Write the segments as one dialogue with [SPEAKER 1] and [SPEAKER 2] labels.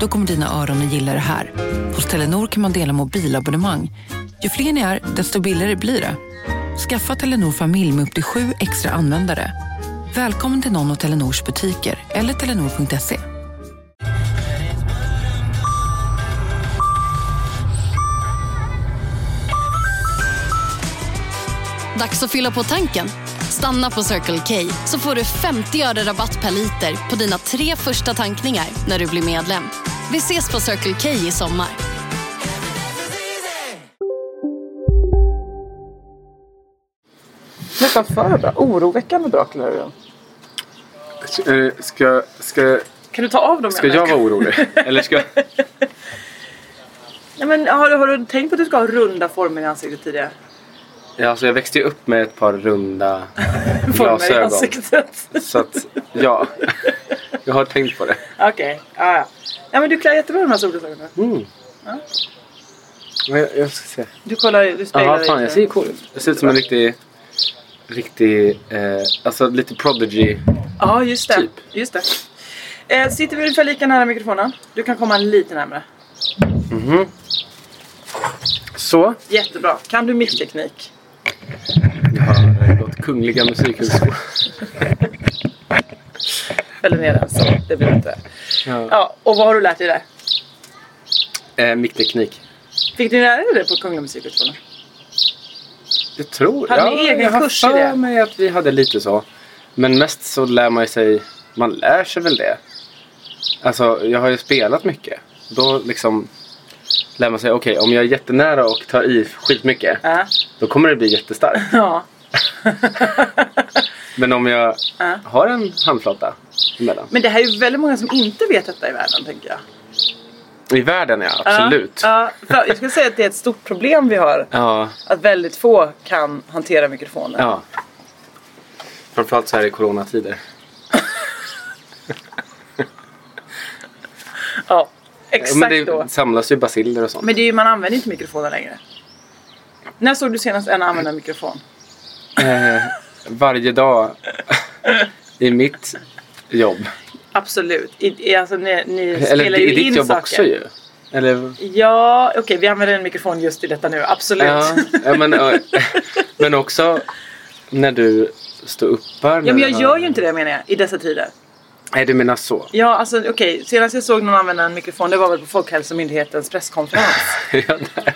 [SPEAKER 1] Då kommer dina öron att gilla det här. Hos Telenor kan man dela mobilabonnemang. Ju fler ni är, desto billigare blir det. Skaffa Telenor familj med upp till sju extra användare. Välkommen till någon av Telenors butiker eller telenor.se.
[SPEAKER 2] Dags att fylla på tanken. Stanna på Circle K så får du 50 öre rabatt per liter på dina tre första tankningar när du blir medlem. Vi ses på Circle K i sommar.
[SPEAKER 3] Nästan för bra. Oroväckande bra Clarion.
[SPEAKER 4] Eh, Ska, ska,
[SPEAKER 3] Kan du ta av dem?
[SPEAKER 4] ska
[SPEAKER 3] igen?
[SPEAKER 4] jag vara orolig? Eller ska...
[SPEAKER 3] Nej, men har, du- har du tänkt på att du ska ha runda former i ansiktet tidigare?
[SPEAKER 4] Ja, Alltså jag växte ju upp med ett par runda
[SPEAKER 3] Former i
[SPEAKER 4] glasögon.
[SPEAKER 3] ansiktet.
[SPEAKER 4] Så att, ja. Jag har tänkt på det.
[SPEAKER 3] Okej, ja, ja. Nej, men du klär jättebra de här solglasögonen.
[SPEAKER 4] Mm. Men jag, jag ska se.
[SPEAKER 3] Du kollar, du speglar
[SPEAKER 4] Jaha,
[SPEAKER 3] dig
[SPEAKER 4] fan jag
[SPEAKER 3] lite.
[SPEAKER 4] ser ju cool ut. Jag ser ut som en riktig... Riktig... Eh, alltså lite prodigy.
[SPEAKER 3] Ja, just det.
[SPEAKER 4] Typ.
[SPEAKER 3] Just det. Eh, sitter vi ungefär lika nära mikrofonen? Du kan komma lite närmare.
[SPEAKER 4] Så.
[SPEAKER 3] Jättebra. Kan du mickteknik?
[SPEAKER 4] Jag har eh, gått Kungliga Musikhögskolan.
[SPEAKER 3] Eller ner den så. Det blir inte.
[SPEAKER 4] Ja.
[SPEAKER 3] Ja, och vad har du lärt dig där?
[SPEAKER 4] Eh, mickteknik.
[SPEAKER 3] Fick du lära dig det på Kungliga Musikhögskolan?
[SPEAKER 4] Jag tror...
[SPEAKER 3] Hade ni egen
[SPEAKER 4] jag har
[SPEAKER 3] kurs i det?
[SPEAKER 4] för mig att vi hade lite så. Men mest så lär man ju sig... Man lär sig väl det. Alltså, jag har ju spelat mycket. Då liksom lär man sig, okej om jag är jättenära och tar i skitmycket,
[SPEAKER 3] Ja.
[SPEAKER 4] då kommer det bli jättestarkt.
[SPEAKER 3] Ja.
[SPEAKER 4] Men om jag
[SPEAKER 3] Ja.
[SPEAKER 4] har en handflata emellan.
[SPEAKER 3] Men det här är ju väldigt många som inte vet detta i världen, tänker jag.
[SPEAKER 4] I världen ja, absolut. Ja.
[SPEAKER 3] Ja, ja, för jag skulle säga att det är ett stort problem vi har.
[SPEAKER 4] ja.
[SPEAKER 3] Att väldigt få kan hantera mikrofoner.
[SPEAKER 4] Framförallt så här i coronatider.
[SPEAKER 3] Ja,
[SPEAKER 4] Ja,
[SPEAKER 3] exakt
[SPEAKER 4] Men
[SPEAKER 3] då.
[SPEAKER 4] det samlas ju basiller och sånt.
[SPEAKER 3] Men det är ju, man använder inte mikrofoner längre. När såg du senast en använda mikrofon?
[SPEAKER 4] Eh, varje dag i mitt jobb.
[SPEAKER 3] Absolut. I, i, alltså, ni ni
[SPEAKER 4] Eller
[SPEAKER 3] spelar
[SPEAKER 4] i
[SPEAKER 3] ju
[SPEAKER 4] ditt
[SPEAKER 3] in
[SPEAKER 4] jobb
[SPEAKER 3] saker.
[SPEAKER 4] också ju. Eller,
[SPEAKER 3] Ja, okej vi använder en mikrofon just i detta nu. Absolut.
[SPEAKER 4] ja, ja, men, eh, men också när du står uppar.
[SPEAKER 3] Ja, men jag gör ju inte det menar jag, i dessa tider.
[SPEAKER 4] Nej, du menar så.
[SPEAKER 3] Ja, alltså okej. Senast jag såg någon använda en mikrofon, det var väl på Folkhälsomyndighetens presskonferens.
[SPEAKER 4] Ja, där.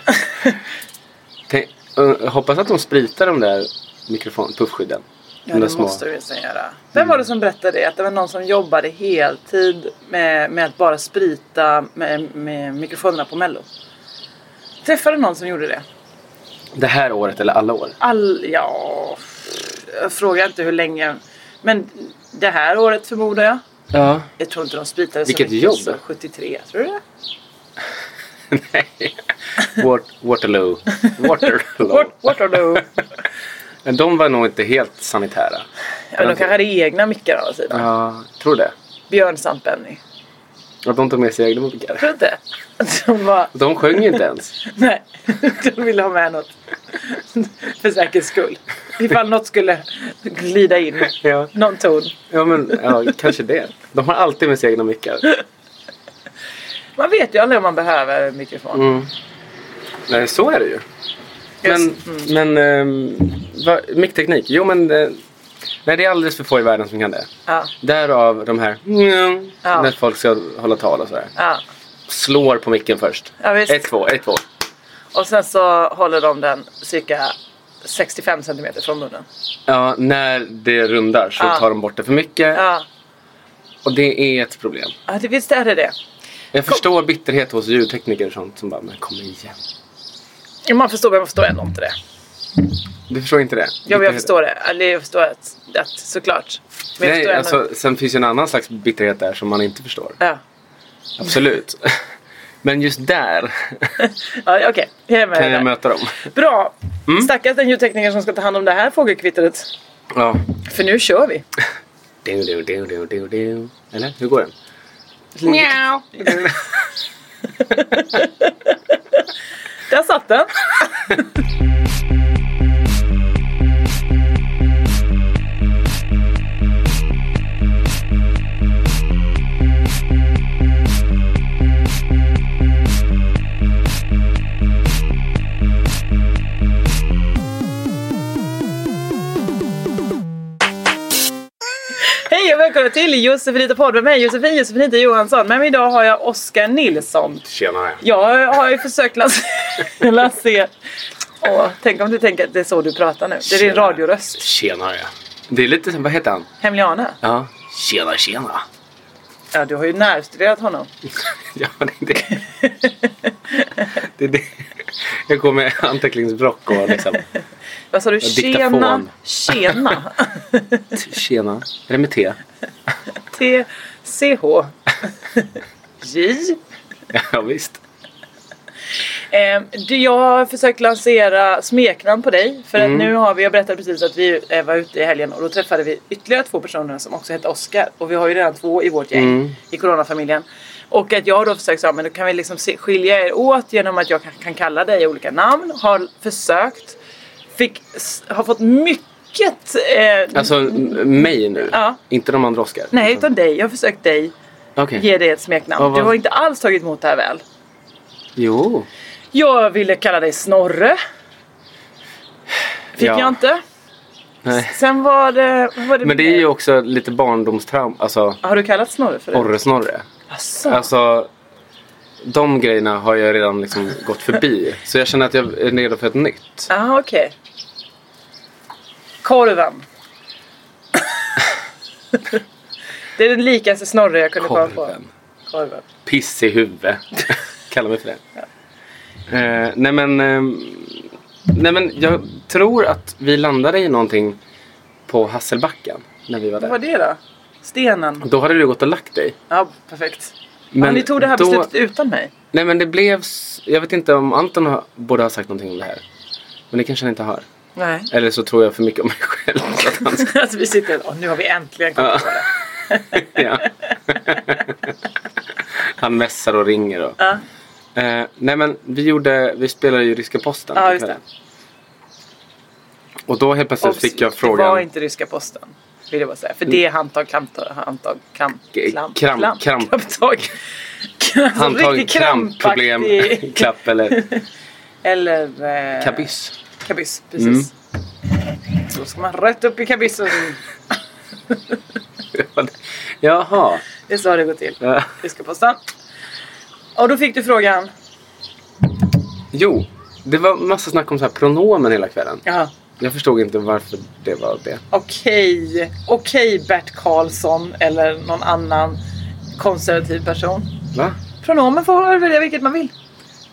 [SPEAKER 4] Tänk, eh, hoppas att de spritar de där mikrofon, puffskydden. De
[SPEAKER 3] Ja,
[SPEAKER 4] där
[SPEAKER 3] det
[SPEAKER 4] små.
[SPEAKER 3] måste du ju sen göra. Vem var det som berättade det? Att det var någon som jobbade heltid med, med att bara sprita med, med mikrofonerna på mello. Träffade någon som gjorde det?
[SPEAKER 4] Det här året eller alla år.
[SPEAKER 3] All, ja... Jag frågar inte hur länge. Men det här året förmodar jag.
[SPEAKER 4] Ja.
[SPEAKER 3] Jag tror inte de spritade
[SPEAKER 4] Vilket
[SPEAKER 3] så mycket
[SPEAKER 4] jobb.
[SPEAKER 3] som 73, tror du det?
[SPEAKER 4] Nej. Wat- Waterloo. Waterloo.
[SPEAKER 3] What, what are those?
[SPEAKER 4] Men de var nog inte helt sanitära.
[SPEAKER 3] ja, men de kanske hade egna mickar å andra sidan.
[SPEAKER 4] Ja, tror det.
[SPEAKER 3] Björn samt Benny.
[SPEAKER 4] Att de tog med sig egna munkar.
[SPEAKER 3] Tror du inte? De var...
[SPEAKER 4] De sjöng ju inte ens.
[SPEAKER 3] Nej, de ville ha med något. För säkerhets skull. Ifall något skulle glida in.
[SPEAKER 4] Ja,
[SPEAKER 3] Någon ton.
[SPEAKER 4] ja men ja, kanske det. De har alltid med sig egna mickar.
[SPEAKER 3] Man vet ju aldrig om man behöver en mikrofon.
[SPEAKER 4] Mm. Nej, så är det ju. Men,
[SPEAKER 3] Yes.
[SPEAKER 4] men ehm, va, mickteknik. Jo, men eh, nej, det är alldeles för få i världen som kan det.
[SPEAKER 3] Ja,
[SPEAKER 4] Därav de här
[SPEAKER 3] Ja.
[SPEAKER 4] när folk ska hålla tal och sådär.
[SPEAKER 3] ja.
[SPEAKER 4] Slår på micken först.
[SPEAKER 3] Ja, visst.
[SPEAKER 4] ett, två, ett, två.
[SPEAKER 3] Och sen så håller de den cirka 65 centimeter från munnen.
[SPEAKER 4] Ja, när det rundar så
[SPEAKER 3] Ja.
[SPEAKER 4] tar de bort det för mycket.
[SPEAKER 3] Ja,
[SPEAKER 4] Och det är ett problem.
[SPEAKER 3] ja det, visst är det det.
[SPEAKER 4] Jag förstår bitterhet hos ljudtekniker och sånt som bara, men kom igen.
[SPEAKER 3] Ja, Man förstår, men man förstår ändå inte det.
[SPEAKER 4] Du förstår inte det?
[SPEAKER 3] Ja, men jag
[SPEAKER 4] Bitterhet.
[SPEAKER 3] förstår det. Eller jag förstår att, att såklart. Men jag
[SPEAKER 4] Nej,
[SPEAKER 3] förstår ändå-
[SPEAKER 4] alltså, sen finns ju en annan slags bitterhet där som man inte förstår.
[SPEAKER 3] ja.
[SPEAKER 4] Absolut. Men just där
[SPEAKER 3] Ja, Okej, jag är med
[SPEAKER 4] kan
[SPEAKER 3] dig där.
[SPEAKER 4] jag möta Mm. dem.
[SPEAKER 3] Bra! Stackars den ljudtekniker som ska ta hand om det här fågelkvittret.
[SPEAKER 4] Ja.
[SPEAKER 3] För nu kör vi.
[SPEAKER 4] Du, du, du, du, du, du. Eller hur går den?
[SPEAKER 3] Där satt den. Hej och välkomna till Josefinita podd med mig Josefin Josefinita Johansson. Med mig idag har jag Oskar Nilsson.
[SPEAKER 4] Tjenare.
[SPEAKER 3] Jag har ju försökt las- lansera... Åh, tänk om du tänker att det är så du pratar nu. Det är din
[SPEAKER 4] Tjena.
[SPEAKER 3] radioröst.
[SPEAKER 4] Tjenare. Det är lite som, vad heter han?
[SPEAKER 3] Hemliana.
[SPEAKER 4] Ja. Tjena, tjena.
[SPEAKER 3] Ja, du har ju närstuderat honom.
[SPEAKER 4] Ja, det är det. det, är det. Jag går med anteckningsblock och liksom.
[SPEAKER 3] Vad sa du?
[SPEAKER 4] diktafon.
[SPEAKER 3] Tjena. Tjena.
[SPEAKER 4] Tjena. Är det med T?
[SPEAKER 3] T-C-H. J.
[SPEAKER 4] Ja, visst.
[SPEAKER 3] Eh, du, jag har försökt lansera smeknamn på dig. För
[SPEAKER 4] Mm.
[SPEAKER 3] att nu har vi, jag berättade precis att vi eh, var ute i helgen och då träffade vi ytterligare två personer som också hette Oscar. Och vi har ju redan två i vårt gäng
[SPEAKER 4] Mm.
[SPEAKER 3] i coronafamiljen. Och att jag då försökt säga, men då kan vi liksom se- skilja er åt genom att jag kan, kan kalla dig olika namn. Har försökt. Fick, s- har fått mycket eh,
[SPEAKER 4] Alltså m- mig nu?
[SPEAKER 3] Ja.
[SPEAKER 4] Inte de andra Oscar?
[SPEAKER 3] Nej, utan dig. Jag har försökt dig
[SPEAKER 4] Okej.
[SPEAKER 3] ge dig ett smeknamn.
[SPEAKER 4] Ja, vad-
[SPEAKER 3] Du har inte alls tagit emot det här väl.
[SPEAKER 4] Jo.
[SPEAKER 3] Jag ville kalla dig Snorre. Fick
[SPEAKER 4] Ja.
[SPEAKER 3] jag inte.
[SPEAKER 4] Nej.
[SPEAKER 3] Sen var det... vad Var det
[SPEAKER 4] Men det är ju också lite barndomstrauma. Alltså,
[SPEAKER 3] Har du kallat Snorre för det?
[SPEAKER 4] orresnorre.
[SPEAKER 3] Asså.
[SPEAKER 4] Alltså, de grejerna har jag redan liksom gått förbi. Så jag känner att jag är redo för ett nytt.
[SPEAKER 3] Jaha, Ah, okej. Korven. det är den likaste Snorre jag kunde komma på.
[SPEAKER 4] Korven.
[SPEAKER 3] Korven.
[SPEAKER 4] Piss i huvudet. Kalla mig för det. Eh, nej men... ehm, nej men jag tror att vi landade i någonting på Hasselbacken. När vi var
[SPEAKER 3] Vad var
[SPEAKER 4] där.
[SPEAKER 3] det då? Stenen.
[SPEAKER 4] Då hade du gått och lagt dig.
[SPEAKER 3] Ja, perfekt.
[SPEAKER 4] Men
[SPEAKER 3] ja, ni tog det här
[SPEAKER 4] då-
[SPEAKER 3] beslutet utan mig.
[SPEAKER 4] Nej men det blev... s- Jag vet inte om Anton har, borde ha sagt någonting om det här. Men det kanske han inte har.
[SPEAKER 3] Nej.
[SPEAKER 4] Eller så tror jag för mycket om mig själv. så att han-
[SPEAKER 3] alltså, vi sitter och nu har vi äntligen kommit
[SPEAKER 4] Ja.
[SPEAKER 3] på det.
[SPEAKER 4] ja. Han messar och ringer. Och.
[SPEAKER 3] Ja.
[SPEAKER 4] Eh, nej men vi, gjorde, vi spelade ju Ryska Posten.
[SPEAKER 3] Ja,
[SPEAKER 4] på
[SPEAKER 3] just det.
[SPEAKER 4] kvällen. Och då helt plötsligt fick jag
[SPEAKER 3] Det var
[SPEAKER 4] frågan.
[SPEAKER 3] inte ryska posten. Vill jag bara säga. För det är handtag, klamptag, handtag, kramp,
[SPEAKER 4] K-
[SPEAKER 3] klamp,
[SPEAKER 4] kramp,
[SPEAKER 3] klamp,
[SPEAKER 4] kramp.
[SPEAKER 3] klamptag. Alltså,
[SPEAKER 4] Handtag,
[SPEAKER 3] riktigt
[SPEAKER 4] kramp, problem,
[SPEAKER 3] krampaktig-
[SPEAKER 4] klapp eller
[SPEAKER 3] Eller... Eh,
[SPEAKER 4] kabyss. Mm.
[SPEAKER 3] Kabyss, precis. Då ska man rätt upp i kabyssen.
[SPEAKER 4] Jaha.
[SPEAKER 3] Det är så det går till.
[SPEAKER 4] Eh,
[SPEAKER 3] Ryska posten. Och då fick du frågan.
[SPEAKER 4] jo, det var massa snack om så här pronomen hela kvällen.
[SPEAKER 3] Jaha.
[SPEAKER 4] Jag förstod inte varför det var det.
[SPEAKER 3] Okej, okej Bert Karlsson eller någon annan konservativ person.
[SPEAKER 4] Va?
[SPEAKER 3] Pronomen får man välja vilket man vill.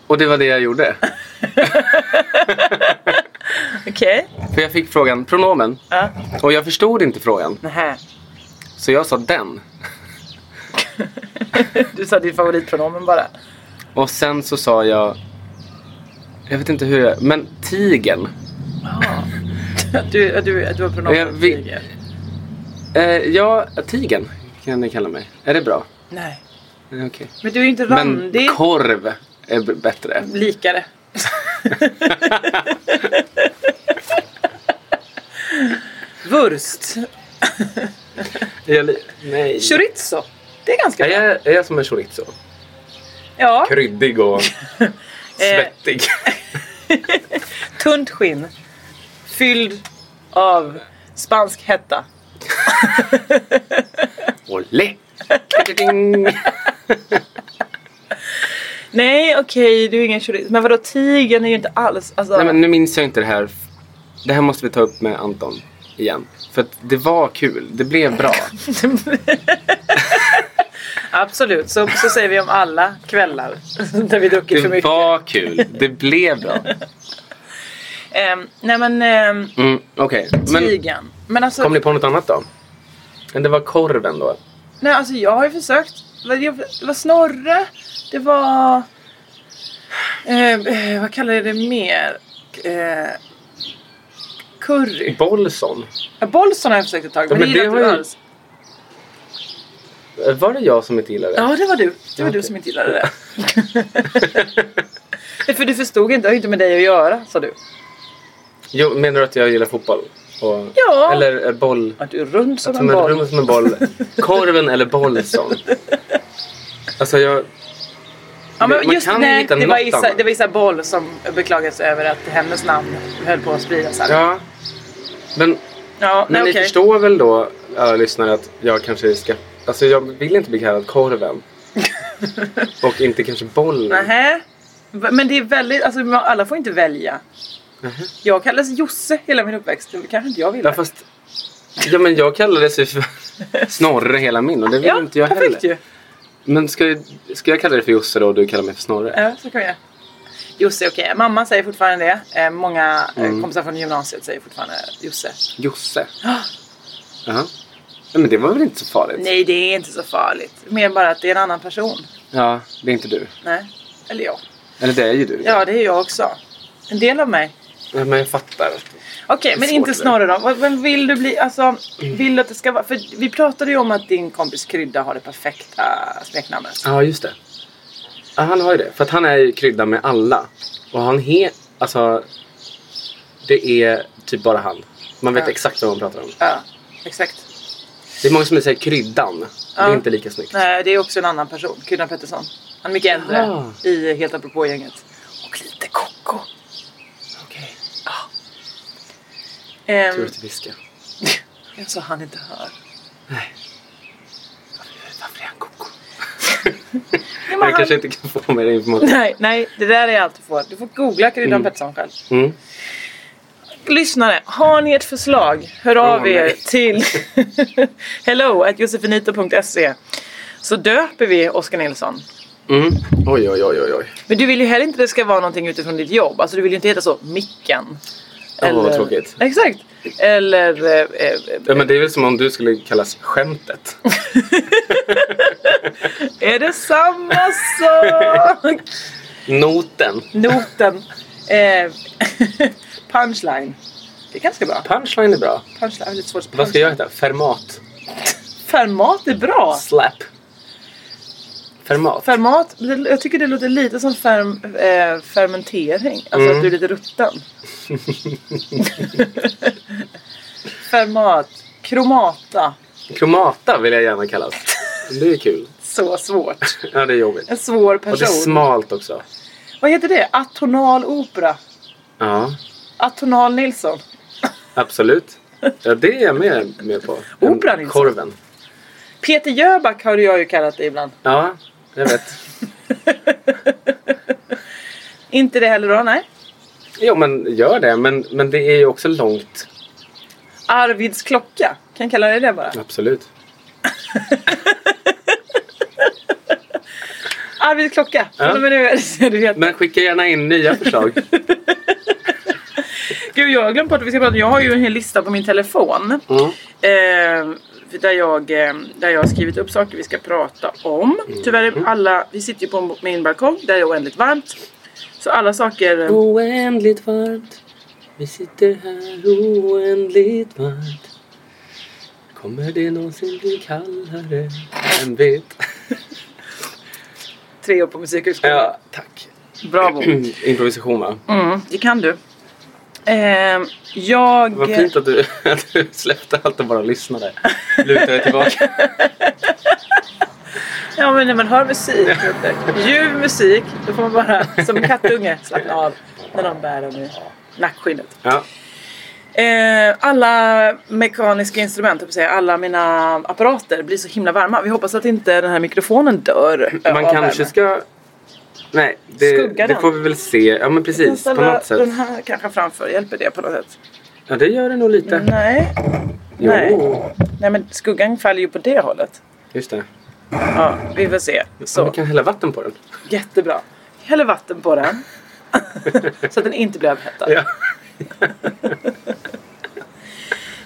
[SPEAKER 4] Och det var det jag gjorde.
[SPEAKER 3] Okej.
[SPEAKER 4] För jag fick frågan pronomen
[SPEAKER 3] Ja.
[SPEAKER 4] och jag förstod inte frågan.
[SPEAKER 3] Nähä.
[SPEAKER 4] Så jag sa den.
[SPEAKER 3] Du sa ditt favoritpronomen bara.
[SPEAKER 4] Och sen så sa jag... Jag vet inte hur jag... Men tigen.
[SPEAKER 3] Att du, att du, att du har
[SPEAKER 4] Jag
[SPEAKER 3] pronomen
[SPEAKER 4] vill-
[SPEAKER 3] tiger.
[SPEAKER 4] Eh, ja, tigen kan ni kalla mig. Är det bra?
[SPEAKER 3] Nej.
[SPEAKER 4] Eh, Okej.
[SPEAKER 3] Men du är ju inte
[SPEAKER 4] Men
[SPEAKER 3] randig.
[SPEAKER 4] korv är b- bättre.
[SPEAKER 3] Likare. Wurst.
[SPEAKER 4] Är jag li- Nej.
[SPEAKER 3] Chorizo. Det är ganska
[SPEAKER 4] Är
[SPEAKER 3] bra.
[SPEAKER 4] jag, är jag som en chorizo?
[SPEAKER 3] Ja. eh,
[SPEAKER 4] Kryddig och svettig.
[SPEAKER 3] Tunt skinn. Fylld av spansk hetta.
[SPEAKER 4] Olé!
[SPEAKER 3] Nej okej, du är ingen chorizo. Men vadå tigern är ju inte alls... Alltså,
[SPEAKER 4] Nej men nu minns jag inte det här. Det här måste vi ta upp med Anton igen. För att det var kul. Det blev bra.
[SPEAKER 3] Absolut, så, så säger vi om alla kvällar där vi druckit för
[SPEAKER 4] Det
[SPEAKER 3] mycket.
[SPEAKER 4] var kul. Det blev bra.
[SPEAKER 3] Ehm, nej men... ehm,
[SPEAKER 4] Mm, Okej. Men-
[SPEAKER 3] Tigern. Men alltså,
[SPEAKER 4] Kom ni på något annat då? Men det var korven då?
[SPEAKER 3] nej, alltså jag har ju försökt. Vad- jag- Det var Snorre, det var Eh, eh, vad kallar jag det mer? Eh, curry.
[SPEAKER 4] Bolson.
[SPEAKER 3] Ja, Bolson har jag försökt ett tag men,
[SPEAKER 4] Ja, men
[SPEAKER 3] det
[SPEAKER 4] det
[SPEAKER 3] gillar
[SPEAKER 4] har
[SPEAKER 3] inte du
[SPEAKER 4] ju-
[SPEAKER 3] alls.
[SPEAKER 4] Eh, Var det jag som inte gillade det?
[SPEAKER 3] Ja det var du. Det var du
[SPEAKER 4] Okej.
[SPEAKER 3] som inte gillade det. Nej, För du förstod inte, det har ju inte med dig att göra sa du.
[SPEAKER 4] Jo, menar du att jag gillar fotboll? Och,
[SPEAKER 3] Ja.
[SPEAKER 4] Eller eh, boll?
[SPEAKER 3] Att du är rund som
[SPEAKER 4] Som
[SPEAKER 3] en boll.
[SPEAKER 4] rum som en boll. Korven eller Bolson? Alltså jag...
[SPEAKER 3] Ja, men
[SPEAKER 4] Man
[SPEAKER 3] just,
[SPEAKER 4] kan ju
[SPEAKER 3] nej,
[SPEAKER 4] hitta
[SPEAKER 3] det, var
[SPEAKER 4] något
[SPEAKER 3] Isa,
[SPEAKER 4] annat.
[SPEAKER 3] det var Isa Boll som beklagades över att hennes namn höll på att spridas här.
[SPEAKER 4] Ja. Men
[SPEAKER 3] Ja,
[SPEAKER 4] Men
[SPEAKER 3] nej,
[SPEAKER 4] ni
[SPEAKER 3] okej.
[SPEAKER 4] förstår väl då, alla lyssnare, att jag kanske ska... Alltså jag vill inte bli kallad korven. och inte kanske bollen.
[SPEAKER 3] Nähä. Va- Men det är väldigt, alltså man- alla får inte välja. Jag kallas Josse hela min uppväxt. Det kanske inte jag ville.
[SPEAKER 4] Ja, fast... Ja, men jag kallades ju för Snorre hela min och det vill
[SPEAKER 3] ja,
[SPEAKER 4] inte jag heller.
[SPEAKER 3] perfekt ju.
[SPEAKER 4] Men ska jag, ska jag kalla dig för Josse då och du kallar mig för Snorre?
[SPEAKER 3] Ja, så kan jag. Josse är okej. Mamma säger fortfarande det. Eh, många eh,
[SPEAKER 4] Mm.
[SPEAKER 3] kompisar från gymnasiet säger fortfarande Josse.
[SPEAKER 4] Josse? Ja. Nej, men det var väl inte så farligt?
[SPEAKER 3] Nej, det är inte så farligt. Mer bara att det är en annan person.
[SPEAKER 4] Ja, det är inte du.
[SPEAKER 3] Nej. Eller jag.
[SPEAKER 4] Eller det är ju du.
[SPEAKER 3] Ja, det är jag också. En del av mig.
[SPEAKER 4] Ja, men jag fattar.
[SPEAKER 3] Okej,
[SPEAKER 4] är
[SPEAKER 3] men
[SPEAKER 4] svårt
[SPEAKER 3] inte
[SPEAKER 4] det. Mm.
[SPEAKER 3] Snorre då. Vad- Vad vill du bli? Alltså, vill du att det ska vara... För vi pratade ju om att din kompis Krydda har det perfekta smeknamnet.
[SPEAKER 4] Ja, just det. Ja, han har ju det. För att han är ju krydda med alla. Och han he... Alltså... Det är typ bara han. Man vet
[SPEAKER 3] Ja.
[SPEAKER 4] exakt vad man pratar om.
[SPEAKER 3] Ja, exakt.
[SPEAKER 4] Det är många som säger kryddan. Det
[SPEAKER 3] Ja.
[SPEAKER 4] är inte lika snyggt.
[SPEAKER 3] Nej, det är också en annan person. Kryddan Pettersson. Han är mycket äldre
[SPEAKER 4] Jaha.
[SPEAKER 3] i Helt apropå-gänget. Och lite koko.
[SPEAKER 4] Okej.
[SPEAKER 3] Ehm,
[SPEAKER 4] Tur att du viskar.
[SPEAKER 3] så han inte hör.
[SPEAKER 4] Varför är han koko?
[SPEAKER 3] Ja, men
[SPEAKER 4] Jag
[SPEAKER 3] han-
[SPEAKER 4] kanske inte kan få mer information.
[SPEAKER 3] Nej, nej, det där är allt du får. Du får googla Kryddan Pettersson själv.
[SPEAKER 4] Mm.
[SPEAKER 3] Lyssnare, har ni ett förslag? Hör av
[SPEAKER 4] Åh,
[SPEAKER 3] er
[SPEAKER 4] nej.
[SPEAKER 3] till hello at josefinito.se så döper vi Oskar Nilsson.
[SPEAKER 4] Mm. Oj, oj, oj, oj, oj.
[SPEAKER 3] Men du vill ju heller inte det ska vara någonting utifrån ditt jobb. Alltså du vill ju inte heta så Micken.
[SPEAKER 4] Åh, vad tråkigt.
[SPEAKER 3] Exakt. Eller... eh, eh,
[SPEAKER 4] Ja, men det är väl som om du skulle kallas skämtet.
[SPEAKER 3] Är det samma sak?
[SPEAKER 4] Noten.
[SPEAKER 3] Noten. Eh, punchline. Det är ganska bra.
[SPEAKER 4] Punchline är bra.
[SPEAKER 3] Punchline är lite svårt.
[SPEAKER 4] Vad ska jag heta? Fermat.
[SPEAKER 3] Fermat är bra.
[SPEAKER 4] Slap. Fermat.
[SPEAKER 3] Fermat, det- jag tycker det låter lite som ferm, eh, fermentering. Alltså
[SPEAKER 4] Mm.
[SPEAKER 3] att du är lite rutten. Fermat, kromata.
[SPEAKER 4] Kromata vill jag gärna kallas. Det är kul.
[SPEAKER 3] Så svårt.
[SPEAKER 4] Ja, det är jobbigt.
[SPEAKER 3] En svår
[SPEAKER 4] Och det är
[SPEAKER 3] person.
[SPEAKER 4] smalt också.
[SPEAKER 3] Vad heter det? Atonal opera.
[SPEAKER 4] Ja,
[SPEAKER 3] Atonal Nilsson.
[SPEAKER 4] absolut. Ja, det är jag med, med på. En
[SPEAKER 3] Opera, Nilsson.
[SPEAKER 4] Korven.
[SPEAKER 3] Peter Jöback har jag ju kallat dig ibland.
[SPEAKER 4] Ja, jag vet.
[SPEAKER 3] Inte det heller då, nej.
[SPEAKER 4] Jo, men gör det. Men, men det är ju också långt.
[SPEAKER 3] Arvids klocka. Kan jag kalla dig det bara?
[SPEAKER 4] Absolut.
[SPEAKER 3] Arvids klocka.
[SPEAKER 4] Ja.
[SPEAKER 3] Ja. Men nu är det du heter.
[SPEAKER 4] Men skicka gärna in nya förslag.
[SPEAKER 3] Gud, jag har glömt bort att vi ska prata. Jag har ju en hel lista på min telefon.
[SPEAKER 4] Mm.
[SPEAKER 3] Eh, där, jag, eh, där jag har skrivit upp saker vi ska prata om.
[SPEAKER 4] Mm.
[SPEAKER 3] Tyvärr är alla, vi sitter ju på min balkong där det är oändligt varmt. Så alla saker... eh,
[SPEAKER 4] Mm. Oändligt varmt. Vi sitter här oändligt varmt. Kommer det någonsin bli kallare? Vem vet?
[SPEAKER 3] Tre år på Musikhögskolan.
[SPEAKER 4] Ja, tack.
[SPEAKER 3] Bravo.
[SPEAKER 4] Improvisation, va?
[SPEAKER 3] Mm, det kan du. Eh, jag...
[SPEAKER 4] Vad fint att du, att du släppte allt och bara lyssnade. Lutar jag tillbaka.
[SPEAKER 3] Ja men när man hör musik, ljuv musik, då får man bara som en kattunge slappna av när någon bär en i nackskinnet.
[SPEAKER 4] Ja.
[SPEAKER 3] Eh, alla mekaniska instrument, jag säga, alla mina apparater blir så himla varma. Vi hoppas att inte den här mikrofonen dör eh,
[SPEAKER 4] Man
[SPEAKER 3] av
[SPEAKER 4] kanske
[SPEAKER 3] värme.
[SPEAKER 4] ska... Nej, det,
[SPEAKER 3] Skugga
[SPEAKER 4] det
[SPEAKER 3] den.
[SPEAKER 4] får vi väl se. Ja, men
[SPEAKER 3] Jag kan
[SPEAKER 4] precis. På
[SPEAKER 3] ställa
[SPEAKER 4] något
[SPEAKER 3] den
[SPEAKER 4] sätt.
[SPEAKER 3] här kanske framför, hjälper det på något sätt?
[SPEAKER 4] Ja, det gör det nog lite.
[SPEAKER 3] Nej,
[SPEAKER 4] Jo,
[SPEAKER 3] nej men skuggan faller ju på det hållet.
[SPEAKER 4] just det.
[SPEAKER 3] Ja, vi får se.
[SPEAKER 4] Så.
[SPEAKER 3] Så,
[SPEAKER 4] Man kan hälla vatten på den.
[SPEAKER 3] jättebra. Häller vatten på den. så att den inte blir överhettad.
[SPEAKER 4] Ja.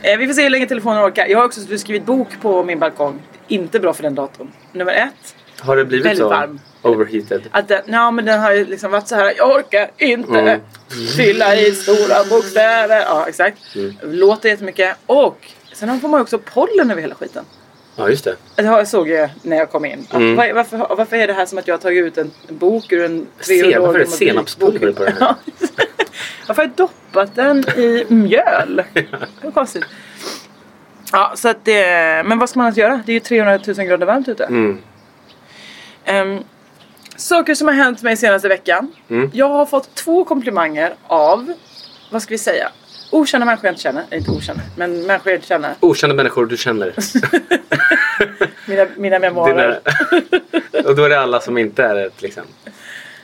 [SPEAKER 3] Eh, vi får se hur länge telefonen orkar. Jag har också skrivit bok på min balkong. Inte bra för den datorn. Nummer ett.
[SPEAKER 4] Har det blivit
[SPEAKER 3] Väldigt
[SPEAKER 4] så?
[SPEAKER 3] varm.
[SPEAKER 4] Overheated.
[SPEAKER 3] Att den, ja, men den har ju liksom varit så här. Jag orkar inte
[SPEAKER 4] Mm.
[SPEAKER 3] fylla i stora bokstäver. Ja, exakt. Låter jättemycket. Och sen får man ju också pollen över hela skiten.
[SPEAKER 4] Ja, just det.
[SPEAKER 3] Det har- såg jag när jag kom in. Att,
[SPEAKER 4] Mm.
[SPEAKER 3] var, varför, varför är det här som att jag har tagit ut en bok ur en tre
[SPEAKER 4] Sen-
[SPEAKER 3] år
[SPEAKER 4] varför är det
[SPEAKER 3] gammal
[SPEAKER 4] senapspulver
[SPEAKER 3] bok?
[SPEAKER 4] på den här?
[SPEAKER 3] Ja. varför har jag doppat den i mjöl? Vad konstigt. Ja, så att det, men vad ska man ens göra? Det är ju 300 000 grader varmt ute.
[SPEAKER 4] Mm.
[SPEAKER 3] Ehm, saker som har hänt mig senaste veckan.
[SPEAKER 4] Mm.
[SPEAKER 3] Jag har fått två komplimanger av, vad ska vi säga? Okända människor jag inte känner. Nej, inte okända, men människor jag inte känner.
[SPEAKER 4] Okända människor du känner.
[SPEAKER 3] Mina, mina memoarer.
[SPEAKER 4] Dina- och då är det alla som inte är liksom,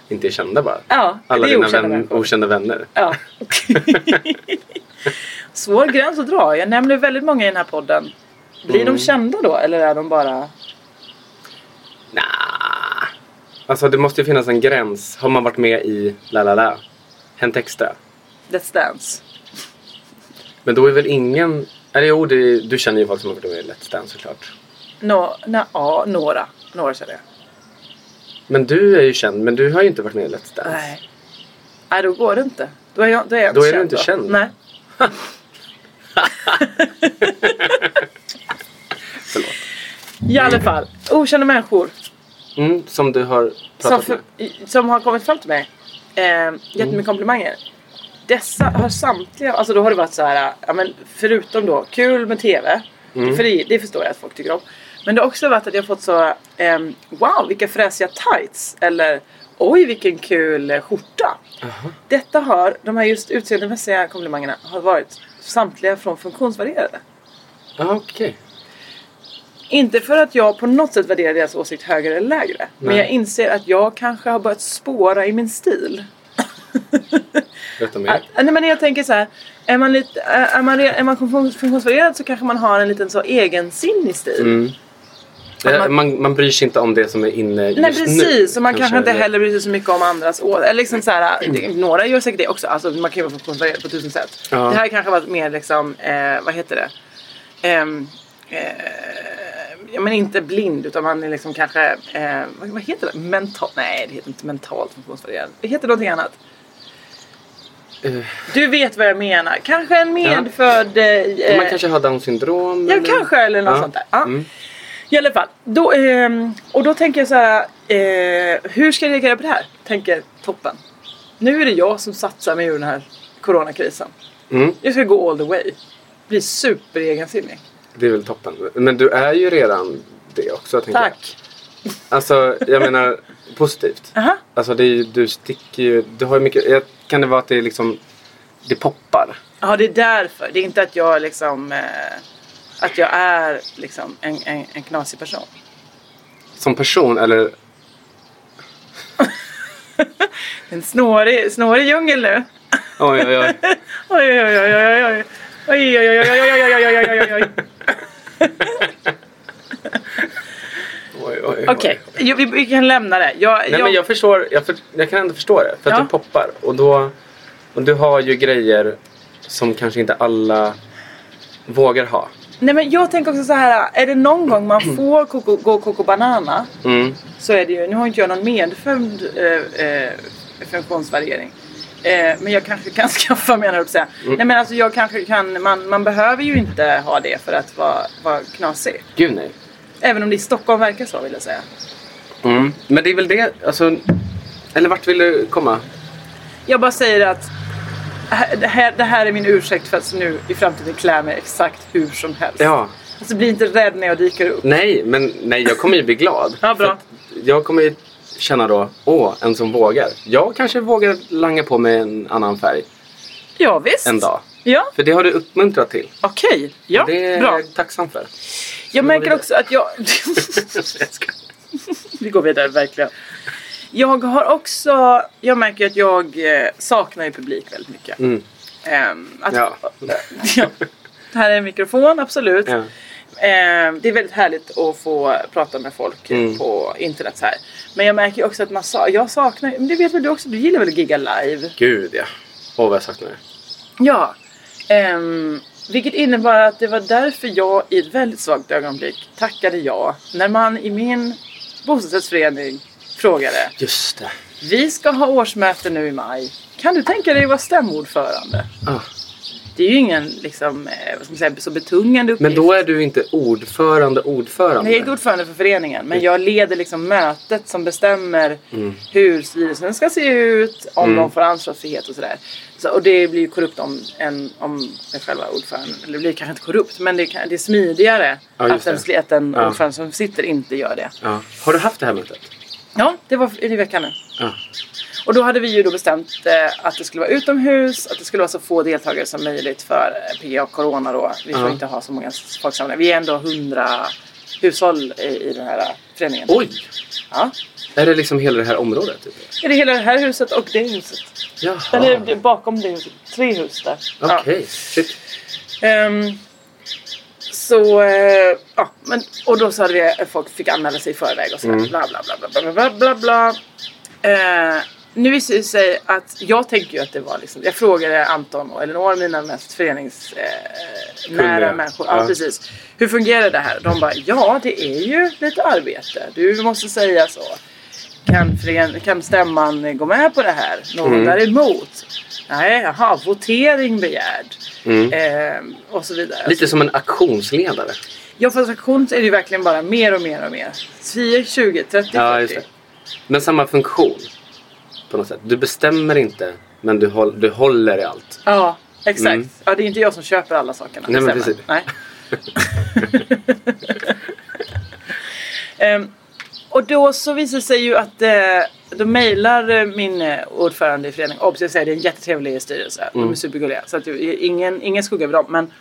[SPEAKER 4] inte är kända bara.
[SPEAKER 3] Ja,
[SPEAKER 4] alla
[SPEAKER 3] det är
[SPEAKER 4] dina
[SPEAKER 3] okända
[SPEAKER 4] vän,
[SPEAKER 3] människor.
[SPEAKER 4] okända vänner.
[SPEAKER 3] Ja. Svår gräns att dra. Jag nämner väldigt många i den här podden. Blir
[SPEAKER 4] Mm.
[SPEAKER 3] de kända då eller är de bara...
[SPEAKER 4] Nah. Alltså det måste ju finnas en gräns. Har man varit med i La La La, Hänt Extra.
[SPEAKER 3] Let's Dance.
[SPEAKER 4] Men då är väl ingen... Eller jo, det, du känner ju folk som har varit med i Let's Dance såklart.
[SPEAKER 3] Nå, na, ja, några. Några känner jag.
[SPEAKER 4] Men du är ju känd, men du har ju inte varit med i Let's Dance.
[SPEAKER 3] Nej. Nej, då går det inte. Då är, jag, då är, jag
[SPEAKER 4] Då är du
[SPEAKER 3] känd
[SPEAKER 4] inte känd.
[SPEAKER 3] Nej.
[SPEAKER 4] Förlåt.
[SPEAKER 3] I alla fall. Okända människor
[SPEAKER 4] Mm, som du har pratat
[SPEAKER 3] som,
[SPEAKER 4] med.
[SPEAKER 3] för, i- som har kommit fram till mig. Eh, jättemycket komplimanger. Dessa har samtliga, alltså då har det varit så här, ja, men förutom då kul med TV. För det, det förstår jag att folk tycker om. Men det har också varit att jag fått så, ehm, wow vilka fräsiga tights. Eller oj vilken kul eh, skjorta. Detta har, de här just utseendemässiga komplimangerna har varit samtliga från funktionsvarierade.
[SPEAKER 4] Ah, okej.
[SPEAKER 3] Inte för att jag på något sätt värderar deras åsikt högre eller lägre. Men
[SPEAKER 4] Nej.
[SPEAKER 3] jag inser att jag kanske har börjat spåra i min stil.
[SPEAKER 4] Berätta mer.
[SPEAKER 3] Att, nej men jag tänker så här. Är man, lite, är man, re- är man funktions- funktionsvarierad så kanske man har en liten så egensinnig stil.
[SPEAKER 4] Mm.
[SPEAKER 3] att
[SPEAKER 4] Det-
[SPEAKER 3] man-
[SPEAKER 4] Eh, man, man bryr sig inte om det som är inne just
[SPEAKER 3] Nej
[SPEAKER 4] nu.
[SPEAKER 3] precis, och man kanske inte
[SPEAKER 4] eller-
[SPEAKER 3] heller bryr sig så mycket om andras år. Eller liksom så här, det- några gör säkert det också. Alltså man kan ju vara funktionsvarierad på tusen sätt.
[SPEAKER 4] Ja.
[SPEAKER 3] Det här kanske var mer liksom, eh, vad heter det? Ehm, eh, ja men inte blind utan man är liksom kanske, eh, vad, vad heter det? Mental? Nej det heter inte mentalt funktionsvarierad. Det heter någonting annat.
[SPEAKER 4] Eh.
[SPEAKER 3] Du vet vad jag menar. Kanske en medfödd... eh,
[SPEAKER 4] Man kanske har down syndrom.
[SPEAKER 3] Ja, kanske eller något
[SPEAKER 4] eh, Ja.
[SPEAKER 3] sånt där. Ja.
[SPEAKER 4] Mm.
[SPEAKER 3] I alla fall. Då, ehm, och då tänker jag så här. Eh, hur ska jag reagera på det här? Tänker toppen. Nu är det jag som satsar mig ur den här coronakrisen.
[SPEAKER 4] Mm.
[SPEAKER 3] Jag ska gå all the way. Bli superegensinnig.
[SPEAKER 4] Det är väl toppen. Men du är ju redan det också. tänker
[SPEAKER 3] Tack.
[SPEAKER 4] Jag. Alltså, jag menar positivt.
[SPEAKER 3] Aha.
[SPEAKER 4] Alltså, det är, ju- du sticker ju... Du har ju mycket... jag- Kan det vara att det är liksom... Det poppar.
[SPEAKER 3] Ja, det är därför. Det är inte att jag liksom... Eh, att jag är liksom en, en, en knasig person.
[SPEAKER 4] Som person eller...
[SPEAKER 3] En snårig, snårig djungel nu.
[SPEAKER 4] Oj, oj, oj.
[SPEAKER 3] Oj, oj, oj, oj, oj, oj. Oj, oj, oj, oj, oj, oj, oj, oj, oj, oj, oj.
[SPEAKER 4] oj, oj, oj.
[SPEAKER 3] Okej, jo, vi, vi kan lämna det. Jag,
[SPEAKER 4] Nej, men jag förstår. Jag, för, jag kan ändå förstå det. För att
[SPEAKER 3] Ja.
[SPEAKER 4] det poppar. Och då... Och du har ju grejer som kanske inte alla vågar ha.
[SPEAKER 3] nej, men jag tänker också så här. Är det någon gång man får koko, gå koko banana
[SPEAKER 4] Mm.
[SPEAKER 3] så är det ju, nu har inte jag någon medfödd eh, eh, funktionsvariering. Eh, men jag kanske kan skaffa mig en höll jag på att säga.
[SPEAKER 4] Mm.
[SPEAKER 3] Nej men alltså jag kanske kan, man, man behöver ju inte ha det för att vara, vara knasig.
[SPEAKER 4] Gud, nej.
[SPEAKER 3] Även om det i Stockholm verkar så vill jag säga.
[SPEAKER 4] Mm. Men det är väl det, alltså... Eller vart vill du komma?
[SPEAKER 3] Jag bara säger att här- det här, det här är min ursäkt för att nu i framtiden klä mig exakt hur som helst.
[SPEAKER 4] Ja.
[SPEAKER 3] Alltså bli inte rädd när jag dyker upp.
[SPEAKER 4] Nej, men nej, jag kommer ju bli glad.
[SPEAKER 3] Ja, bra.
[SPEAKER 4] För att Jag kommer ju känna då, åh, en som vågar. Jag kanske vågar langa på mig en annan färg
[SPEAKER 3] Ja visst.
[SPEAKER 4] en dag.
[SPEAKER 3] Ja,
[SPEAKER 4] För det har du uppmuntrat till.
[SPEAKER 3] okej. Ja,
[SPEAKER 4] det är
[SPEAKER 3] bra.
[SPEAKER 4] jag tacksam för.
[SPEAKER 3] Jag märker
[SPEAKER 4] vidare.
[SPEAKER 3] också att jag... Vi går vidare, verkligen. Jag har också... Jag märker att jag eh, saknar ju publik väldigt mycket.
[SPEAKER 4] Mm.
[SPEAKER 3] Ehm, att,
[SPEAKER 4] Ja.
[SPEAKER 3] Ja. Det här är en mikrofon, absolut.
[SPEAKER 4] Ja.
[SPEAKER 3] Ehm, det är väldigt härligt att få prata med folk eh,
[SPEAKER 4] Mm.
[SPEAKER 3] på internet så här. Men jag märker ju också att man sa, jag saknar... Men det vet väl du också? Du gillar väl att gigga live?
[SPEAKER 4] Gud, ja. Åh, vad jag saknar det.
[SPEAKER 3] Ja. ehm, vilket innebar att det var därför jag i ett väldigt svagt ögonblick tackade ja. När man i min bostadsrättsförening frågade.
[SPEAKER 4] Just det.
[SPEAKER 3] Vi ska ha årsmöte nu i maj. Kan du tänka dig att vara stämordförande?
[SPEAKER 4] Ah.
[SPEAKER 3] Det är ju ingen liksom, eh, vad ska man säga, så betungande uppgift.
[SPEAKER 4] Men då är du inte ordförande ordförande.
[SPEAKER 3] Jag är inte ordförande för föreningen men jag leder liksom mötet som bestämmer
[SPEAKER 4] Mm.
[SPEAKER 3] hur styrelsen ska se ut, om de får ansvarsfrihet och sådär. Så, och det blir ju korrupt om, en, om själva ordföranden, eller det blir kanske inte korrupt men det, kan, det är smidigare
[SPEAKER 4] Ja, just
[SPEAKER 3] att en,
[SPEAKER 4] det.
[SPEAKER 3] att en
[SPEAKER 4] Ja.
[SPEAKER 3] ordförande som sitter inte gör det.
[SPEAKER 4] Ja. Har du haft det här mötet?
[SPEAKER 3] Ja, det var i veckan nu.
[SPEAKER 4] Ja.
[SPEAKER 3] Och då hade vi ju då bestämt eh, att det skulle vara utomhus, att det skulle vara så få deltagare som möjligt för eh, PGA Corona då. Vi får
[SPEAKER 4] Ja.
[SPEAKER 3] inte ha så många folksamlingar. Vi är ändå 100 hushåll i, i den här eh, föreningen.
[SPEAKER 4] Oj!
[SPEAKER 3] Ja.
[SPEAKER 4] Är det liksom hela det här området? Typ?
[SPEAKER 3] Är det hela det här huset och det huset?
[SPEAKER 4] Jaha.
[SPEAKER 3] Eller det- bakom det huset. Tre hus där.
[SPEAKER 4] Okej.
[SPEAKER 3] Ja.
[SPEAKER 4] Shit.
[SPEAKER 3] Ehm, så, eh, ja, men, och då så hade vi att folk fick anmäla sig i förväg och sådär.
[SPEAKER 4] Mm.
[SPEAKER 3] Bla, bla, bla, bla, bla, bla, bla, bla. Eh, nu visar det sig att jag tänker ju att det var liksom, jag frågade Anton och Elinor, mina mest föreningsnära
[SPEAKER 4] Kunniga.
[SPEAKER 3] människor. Ja,
[SPEAKER 4] Ja.
[SPEAKER 3] precis. Hur fungerar det här? De bara, ja det är ju lite arbete. Du måste säga så. Kan, fören- kan stämman gå med på det här? Någon
[SPEAKER 4] Mm.
[SPEAKER 3] däremot? Nej, jaha, votering begärd. Ehm, och så vidare.
[SPEAKER 4] Mm. Lite som en auktionsledare.
[SPEAKER 3] Ja, fast auktions är det ju verkligen bara mer och mer och mer. 10, 20, 30, 40.
[SPEAKER 4] Ja, just det. Men samma funktion. På något sätt. Du bestämmer inte, men du, håll, du håller i allt.
[SPEAKER 3] Ja, exakt.
[SPEAKER 4] Mm.
[SPEAKER 3] Ja, det är inte jag som köper alla sakerna.
[SPEAKER 4] Nej, men
[SPEAKER 3] det stämmer.
[SPEAKER 4] precis.
[SPEAKER 3] Nej. Ehm, och då så visar det sig ju att eh, då mejlar eh, min eh, ordförande i föreningen. Obs, jag säger det är en jättetrevlig styrelse. De
[SPEAKER 4] Mm.
[SPEAKER 3] är supergulliga. Så att, det är ingen, ingen skugga över dem. Men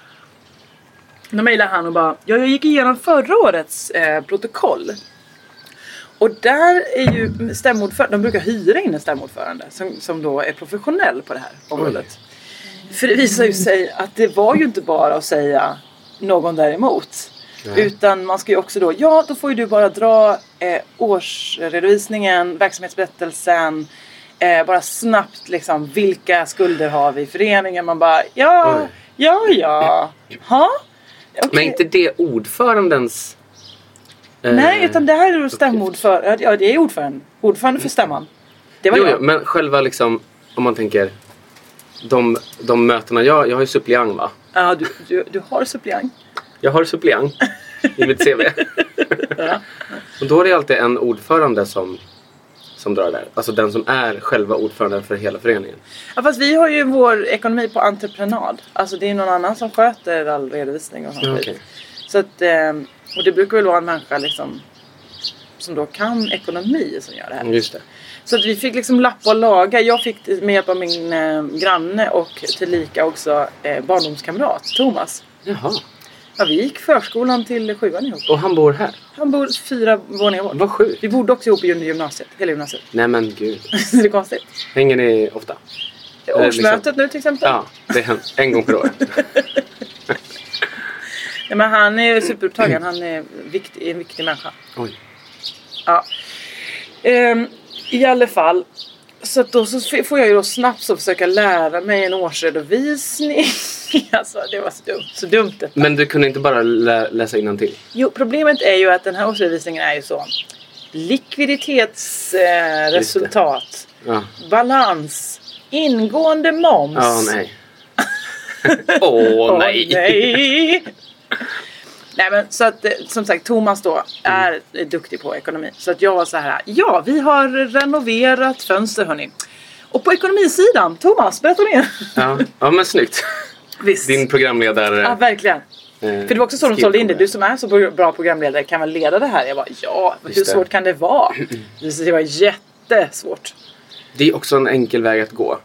[SPEAKER 3] då mejlar han och bara, ja jag gick igenom förra årets eh, protokoll. Och där är ju stämordförande, de brukar hyra in en stämordförande som, som då är professionell på det här området. För det visar ju sig att det var ju inte bara att säga någon däremot. Utan man ska ju också då, ja då får ju du bara dra eh, årsredovisningen, verksamhetsberättelsen. Eh, bara snabbt liksom, vilka skulder har vi i föreningen? Man bara, ja,
[SPEAKER 4] Oj.
[SPEAKER 3] ja, ja. Ha? Okej.
[SPEAKER 4] Men inte det ordförandens... eh,
[SPEAKER 3] Nej, utan det här är då stämordförande. Ja, det är ordförande. Ordförande för stämman. Det var
[SPEAKER 4] Jo, jo,
[SPEAKER 3] jag.
[SPEAKER 4] men själva liksom, om man tänker... De, de mötena, jag, jag har ju suppleant va?
[SPEAKER 3] Ja, du, du, du har suppleant.
[SPEAKER 4] Jag har suppleant i mitt CV. och då är det alltid en ordförande som, som drar där. Alltså den som är själva ordföranden för hela föreningen.
[SPEAKER 3] Ja, fast vi har ju vår ekonomi på entreprenad. Alltså det är någon annan som sköter all redovisning och sånt
[SPEAKER 4] Ja,
[SPEAKER 3] skit.
[SPEAKER 4] okej.
[SPEAKER 3] Så att, ehm, och det brukar väl vara en människa liksom som då kan ekonomi som gör det här.
[SPEAKER 4] Just det.
[SPEAKER 3] Så att vi fick liksom lappa och laga. Jag fick det med hjälp av min eh, granne och tillika också eh, barndomskamrat Thomas.
[SPEAKER 4] Jaha.
[SPEAKER 3] Ja, vi gick förskolan till sjuan ihop.
[SPEAKER 4] Och han bor här?
[SPEAKER 3] Han bor fyra våningar bort.
[SPEAKER 4] Vad sjukt.
[SPEAKER 3] Vi bodde också ihop i gymnasiet, hela gymnasiet.
[SPEAKER 4] Nej men gud.
[SPEAKER 3] Så det är konstigt.
[SPEAKER 4] Hänger ni ofta? liksom-
[SPEAKER 3] Årsmötet nu till exempel.
[SPEAKER 4] Ja, det är en, en gång per år.
[SPEAKER 3] Nej, men han är superupptagen. Han är vikt, en viktig människa.
[SPEAKER 4] Oj.
[SPEAKER 3] Ja. Ehm, I alla fall. Så att då så f- får jag ju då snabbt så försöka lära mig en årsredovisning. alltså det var så dumt. Så dumt det.
[SPEAKER 4] Men du kunde inte bara lä- läsa innantill?
[SPEAKER 3] Jo, problemet är ju att den här årsredovisningen är ju så. Likviditetsresultat. Eh,
[SPEAKER 4] Just det.
[SPEAKER 3] resultat,
[SPEAKER 4] Ja.
[SPEAKER 3] balans. Ingående moms.
[SPEAKER 4] Ja, nej. Åh,
[SPEAKER 3] Åh,
[SPEAKER 4] nej.
[SPEAKER 3] nej. Nej, men så att eh, som sagt Thomas då är eh, duktig på ekonomi. Så att jag var så här. Ja, vi har renoverat fönster hörni. Och på ekonomisidan, Thomas, berätta mer.
[SPEAKER 4] Ja, ja, men snyggt.
[SPEAKER 3] Visst.
[SPEAKER 4] Din programledare...
[SPEAKER 3] Ja, verkligen.
[SPEAKER 4] eh,
[SPEAKER 3] För det var också så de
[SPEAKER 4] skill
[SPEAKER 3] sålde in det.
[SPEAKER 4] kommer.
[SPEAKER 3] Du som är så pro- bra programledare kan väl leda det här? Jag bara ja, hur
[SPEAKER 4] Just det.
[SPEAKER 3] svårt kan det vara? Så Det var jättesvårt.
[SPEAKER 4] Det är också en enkel väg att gå.